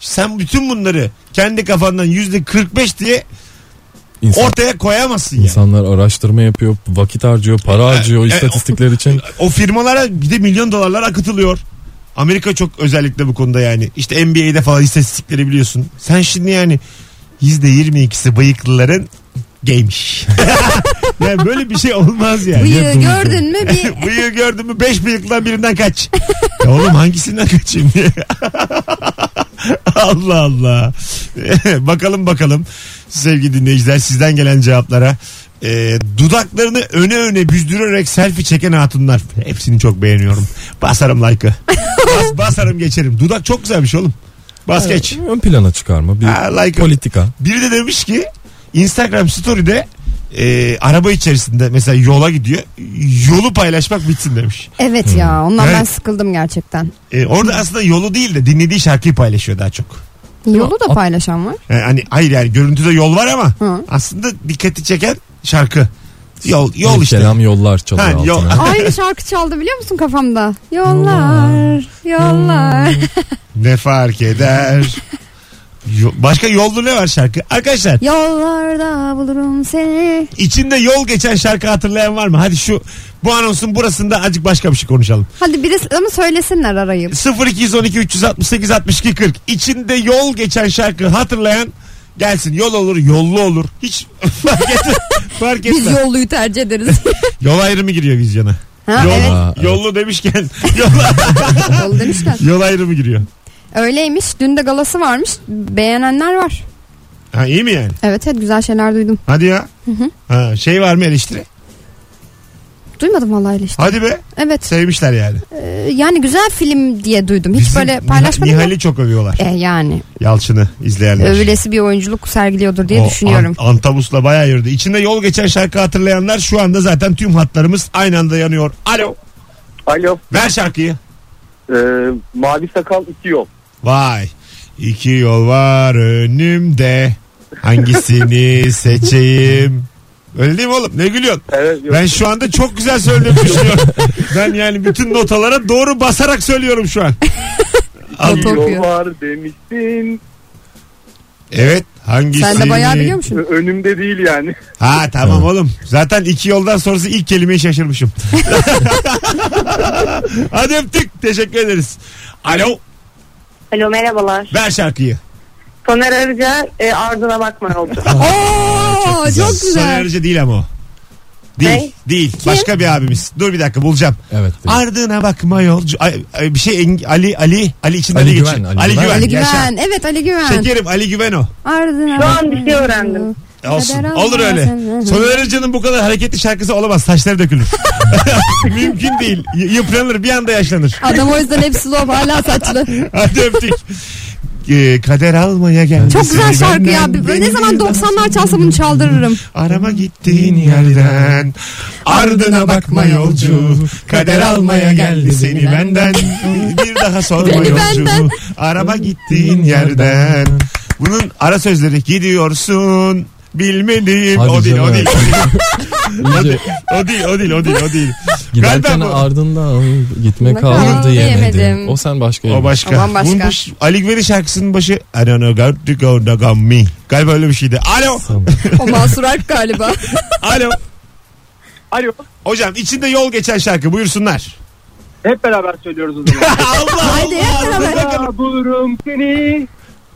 Speaker 2: Sen bütün bunları kendi kafandan yüzde 45 diye
Speaker 4: İnsan-
Speaker 2: ortaya koyamazsın yani.
Speaker 4: İnsanlar araştırma yapıyor, vakit harcıyor, para harcıyor
Speaker 2: e,
Speaker 4: istatistikler için.
Speaker 2: O firmalara bir de milyon dolarlar akıtılıyor. Amerika çok özellikle bu konuda yani. İşte NBA'de falan istatistikleri biliyorsun. Sen şimdi yani %22'si bıyıklıların gaymiş. yani böyle bir şey olmaz yani.
Speaker 3: Bıyığı gördün mü bir
Speaker 2: Bıyığı gördün mü 5 bıyıklıdan birinden kaç. Ya oğlum hangisinden kaçayım diye. Allah Allah. bakalım bakalım sevgili dinleyiciler sizden gelen cevaplara. Ee, dudaklarını öne öne büzdürerek selfie çeken hatunlar. Hepsini çok beğeniyorum. Basarım like'ı. Bas, basarım geçerim. Dudak çok güzelmiş oğlum. Bas geç.
Speaker 4: Ön plana çıkarma bir
Speaker 2: Ha, like-
Speaker 4: politika.
Speaker 2: Biri de demiş ki Instagram story'de e, araba içerisinde mesela yola gidiyor. Yolu paylaşmak bitsin demiş.
Speaker 3: Evet ya ondan ben
Speaker 2: Evet.
Speaker 3: sıkıldım gerçekten.
Speaker 2: E, orada aslında yolu değil de dinlediği şarkıyı paylaşıyor daha çok.
Speaker 3: Yolu da paylaşan var.
Speaker 2: E, hani hayır yani görüntüde yol var ama
Speaker 3: Hı.
Speaker 2: aslında dikkati çeken şarkı. Yol yol
Speaker 4: Bir
Speaker 2: işte.
Speaker 4: Kelam yollar çalıyor
Speaker 2: Ha, yol-
Speaker 4: altına.
Speaker 3: Aynı şarkı çaldı biliyor musun kafamda? Yollar,
Speaker 2: Hmm.
Speaker 3: yollar.
Speaker 2: Ne fark eder? Yo- Başka yolda ne var şarkı? Arkadaşlar
Speaker 3: Yollarda bulurum seni.
Speaker 2: içinde yol geçen şarkı hatırlayan var mı? Hadi şu bu anonsun burasında azıcık başka bir şey konuşalım.
Speaker 3: Hadi birisi ama söylesinler arayıp.
Speaker 2: 0212 368 62 40 içinde yol geçen şarkı hatırlayan gelsin. Yol olur, yollu olur. Hiç fark etmez. fark
Speaker 3: Biz
Speaker 2: etmez.
Speaker 3: yolluyu tercih ederiz.
Speaker 2: Yol ayrımı giriyor vizyona.
Speaker 3: ha,
Speaker 2: Yol,
Speaker 3: evet
Speaker 4: Aa, evet.
Speaker 2: Yollu demişken yol,
Speaker 3: yol demişler.
Speaker 2: yol ayrımı giriyor.
Speaker 3: Öyleymiş. Dün de galası varmış. Beğenenler var.
Speaker 2: Ha iyi mi yani?
Speaker 3: Evet evet güzel şeyler duydum.
Speaker 2: Hadi ya. Ha, şey var mı eleştiri?
Speaker 3: Duymadım vallahi öyle işte.
Speaker 2: Hadi be.
Speaker 3: Evet.
Speaker 2: Sevmişler yani.
Speaker 3: e, Yani güzel film diye duydum. Hiç
Speaker 2: Bizim
Speaker 3: böyle
Speaker 2: Nih-
Speaker 3: paylaşmadım. ama-
Speaker 2: Nihal'i çok övüyorlar.
Speaker 3: E yani
Speaker 2: Yalçın'ı izleyenler.
Speaker 3: öylesi bir oyunculuk sergiliyordur diye
Speaker 2: O
Speaker 3: düşünüyorum.
Speaker 2: An- Antabus'la bayağı yürüdü. İçinde yol geçen şarkı hatırlayanlar şu anda zaten tüm hatlarımız aynı anda yanıyor. Alo.
Speaker 8: Alo.
Speaker 2: Ver şarkıyı.
Speaker 5: e,
Speaker 8: mavi sakal iki yol.
Speaker 2: Vay. İki yol var önümde. Hangisini seçeyim? Öyle değil mi oğlum? Ne gülüyorsun?
Speaker 8: Evet.
Speaker 2: Ben şu anda çok güzel söylediğimi düşünüyorum. ben yani bütün notalara doğru basarak söylüyorum şu an.
Speaker 3: Nota okuyor.
Speaker 8: var demiştin.
Speaker 2: Evet. Hangisini?
Speaker 3: Sen de bayağı biliyormuşsun.
Speaker 8: Önümde değil yani.
Speaker 2: Ha tamam oğlum. Zaten iki yoldan sonrası ilk kelimeyi şaşırmışım. Hadi öptük. Teşekkür ederiz. Alo.
Speaker 6: Alo merhabalar.
Speaker 2: Ver şarkıyı.
Speaker 6: Soner Arıca e, ardına bakma yolcu.
Speaker 3: Oo, çok
Speaker 2: Soner
Speaker 3: güzel.
Speaker 2: Arıcı değil ama o. Değil.
Speaker 6: Ne?
Speaker 2: Değil. Başka bir abimiz. Dur bir dakika bulacağım.
Speaker 4: Evet. değil.
Speaker 2: Ardına bakma yolcu. Ay, ay, bir şey Eng- Ali Ali Ali içinde
Speaker 4: Ali
Speaker 2: Ali
Speaker 4: Güven,
Speaker 2: Güven.
Speaker 4: Ali
Speaker 2: Ali
Speaker 4: Güven.
Speaker 2: Güven.
Speaker 3: Ali
Speaker 2: yaşa.
Speaker 3: Güven. Evet Ali Güven.
Speaker 2: Şekerim Ali Güven o.
Speaker 3: Ardına
Speaker 6: Şu an
Speaker 3: bakma
Speaker 6: bir şey öğrendim.
Speaker 2: Olsun.
Speaker 3: Kader
Speaker 2: Olur öyle.
Speaker 3: Allah'ın-
Speaker 2: Soner Arıcı'nın bu kadar hareketli şarkısı olamaz. Saçları dökülür. Mümkün değil. Y- yıpranır. Bir anda yaşlanır.
Speaker 3: Adam o yüzden hep slow hala saçlı.
Speaker 2: Hadi öptük. Ee, kader almaya geldi.
Speaker 3: Çok güzel
Speaker 2: seni
Speaker 3: şarkı
Speaker 2: benden,
Speaker 3: ya. Ben Ne
Speaker 2: beni
Speaker 3: zaman
Speaker 2: bir daha
Speaker 3: 90'lar çalsa bunu çaldırırım.
Speaker 2: Arama gittiğin yerden Ardına bakma yolcu Kader almaya geldi seni benden Bir daha sorma
Speaker 3: Beni
Speaker 2: yolcu
Speaker 3: benden.
Speaker 2: Arama gittiğin yerden Bunun ara sözleri gidiyorsun Bilmediğim
Speaker 4: Hadi
Speaker 2: o değil, o
Speaker 4: canım.
Speaker 2: değil o
Speaker 4: İyice
Speaker 2: değil O değil o değil o değil o değil
Speaker 4: giderken
Speaker 2: Galiba bu-
Speaker 4: ardından gitme
Speaker 3: Ne kaldı
Speaker 4: kaldı yemedim.
Speaker 3: diyemedim.
Speaker 4: O sen başka
Speaker 2: O
Speaker 4: yemedim.
Speaker 2: başka.
Speaker 3: Aman başka.
Speaker 2: Bunun bu- Ali Güven'in şarkısının başı I don't know got to go no got me. Galiba öyle bir şeydi. Alo.
Speaker 4: Tamam.
Speaker 3: O Mansur Alp galiba.
Speaker 2: Alo.
Speaker 5: Alo.
Speaker 2: Hocam içinde yol geçen şarkı buyursunlar.
Speaker 5: Hep beraber söylüyoruz o zaman.
Speaker 2: Allah
Speaker 3: Haydi hep
Speaker 2: Allah.
Speaker 3: beraber.
Speaker 5: Ya bulurum seni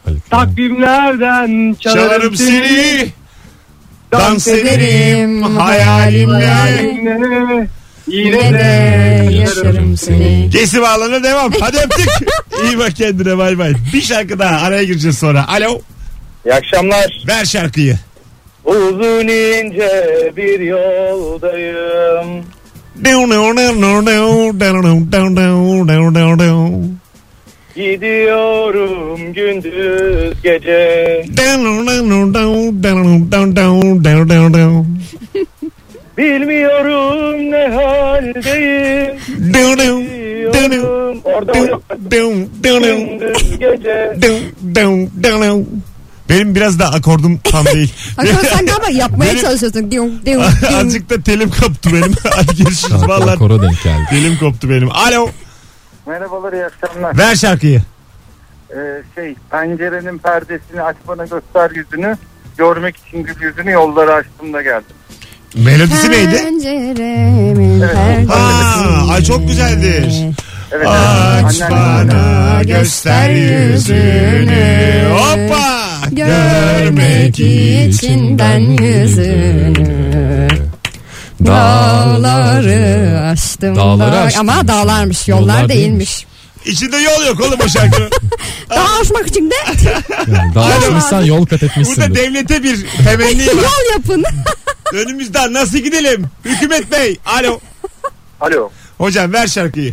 Speaker 4: Ali Güven.
Speaker 5: takvimlerden çalarım,
Speaker 2: Çalarım seni. Dans ederim
Speaker 3: ederim,
Speaker 2: hayalimle.
Speaker 3: hayalimle.
Speaker 5: Hayalimle.
Speaker 7: Yine
Speaker 3: Yine de yaşarım
Speaker 4: yaşarım
Speaker 3: seni.
Speaker 4: seni.
Speaker 2: Gesi bağlanır devam. Hadi öptük. İyi bak kendine bay bay. Bir şarkı daha araya gireceğiz sonra. Alo.
Speaker 5: İyi akşamlar.
Speaker 2: Ver şarkıyı.
Speaker 5: Uzun ince bir yoldayım. Gidiyorum gündüz gece. Bilmiyorum ne haldeyim. Gidiyorum. Orada mı yok? gündüz gece.
Speaker 2: Benim biraz da akordum tam değil.
Speaker 3: Akşam sen galiba yapmaya
Speaker 2: Benim-
Speaker 3: çalışıyorsun. Diyon, diyon, diyon.
Speaker 2: Azıcık da telim koptu benim. Hadi görüşürüz
Speaker 4: Şarkılar
Speaker 2: vallahi.
Speaker 4: kora denk geldi.
Speaker 2: Telim koptu benim. Alo.
Speaker 5: Merhabalar iyi akşamlar.
Speaker 2: Ver şarkıyı.
Speaker 5: Ee, şey pencerenin perdesini aç bana göster yüzünü. Görmek için gül yüzünü yolları açtığımda geldim.
Speaker 2: Melodisi neydi?
Speaker 3: Penceremin perdesi.
Speaker 2: Ha, ay çok güzeldir.
Speaker 5: Evet.
Speaker 2: Aç
Speaker 5: evet. Anneannem-
Speaker 2: bana göster yüzünü. Hoppa.
Speaker 3: Görmek için ben yüzünü Dağları aştım
Speaker 4: Dağları
Speaker 3: da-
Speaker 4: aştım.
Speaker 3: Ama dağlarmış yollar,
Speaker 4: Yollar
Speaker 3: değilmiş.
Speaker 2: İçinde yol yok oğlum o şarkı.
Speaker 3: Dağ aşmak için de
Speaker 4: Yani daha açmışsan yol kat
Speaker 2: Burada
Speaker 4: etmişsindir.
Speaker 2: devlete bir temenni var.
Speaker 3: yol yapın
Speaker 2: Önümüzden nasıl gidelim? Hükümet Bey. Alo.
Speaker 5: Alo.
Speaker 2: Hocam ver şarkıyı.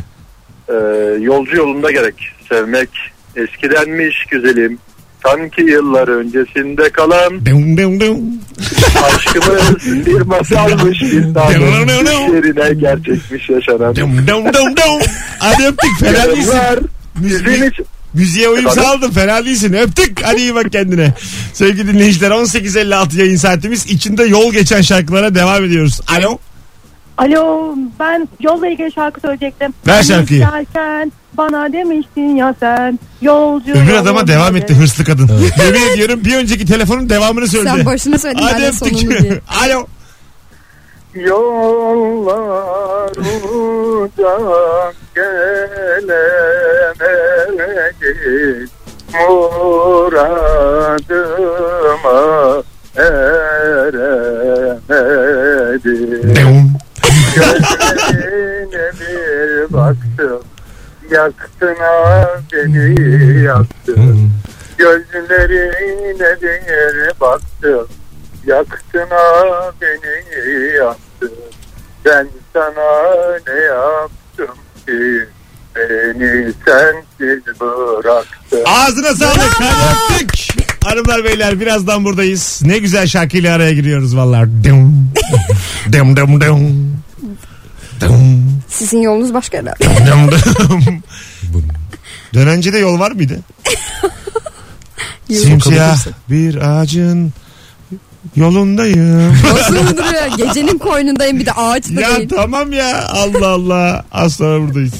Speaker 5: Ee, yolcu yolunda gerek sevmek eskidenmiş güzelim sanki yıllar öncesinde kalan
Speaker 2: Dum dum dum.
Speaker 5: aşkımız bir masalmış bir tanrı yerine gerçekmiş yaşanan
Speaker 2: Dum dum dum dum. Hadi öptük fena değilsin.
Speaker 5: Yıllar bizim
Speaker 2: Müziği,
Speaker 5: için
Speaker 2: müziğe uyum sağladın fena değilsin. Öptük. Hadi iyi bak kendine. Sevgili dinleyiciler 18.56 yayın saatimiz. içinde yol geçen şarkılara devam ediyoruz. Alo.
Speaker 6: Alo ben yolla ilgili şarkı söyleyecektim.
Speaker 2: Ver şarkıyı.
Speaker 6: Derken bana demiştin ya sen yolcu.
Speaker 2: Öbür adama
Speaker 6: yolunda
Speaker 2: devam
Speaker 6: gerek.
Speaker 2: etti hırslı kadın. Yemin ediyorum bir önceki telefonun devamını söyledi.
Speaker 3: Sen başını söyledin ben
Speaker 2: Hadi
Speaker 3: de sonunu diye
Speaker 2: öptük. Alo.
Speaker 5: yollar uzak gelemedik muradıma eremedik
Speaker 2: Dum.
Speaker 5: Gözlerine bir baktım Yaktın ha beni yaktın
Speaker 4: Hmm.
Speaker 5: Gözlerine bir baktım Yaktın ha beni yaktın Ben sana ne yaptım ki Beni sensiz bıraktın
Speaker 2: Ağzına sağlık. Hadi öptük. Hanımlar beyler birazdan buradayız. Ne güzel şarkıyla araya giriyoruz vallahi. Dım. Dım dım dım. Dım
Speaker 3: Sizin yolunuz başka herhalde
Speaker 2: dım dım. Dönencede yol var mıydı? Simsiyah bir ağacın yolundayım.
Speaker 3: Yolsuzluğu duruyor gecenin koynundayım bir de ağaçta
Speaker 2: ya
Speaker 3: değil
Speaker 2: tamam ya Allah Allah. Az sonra buradayız.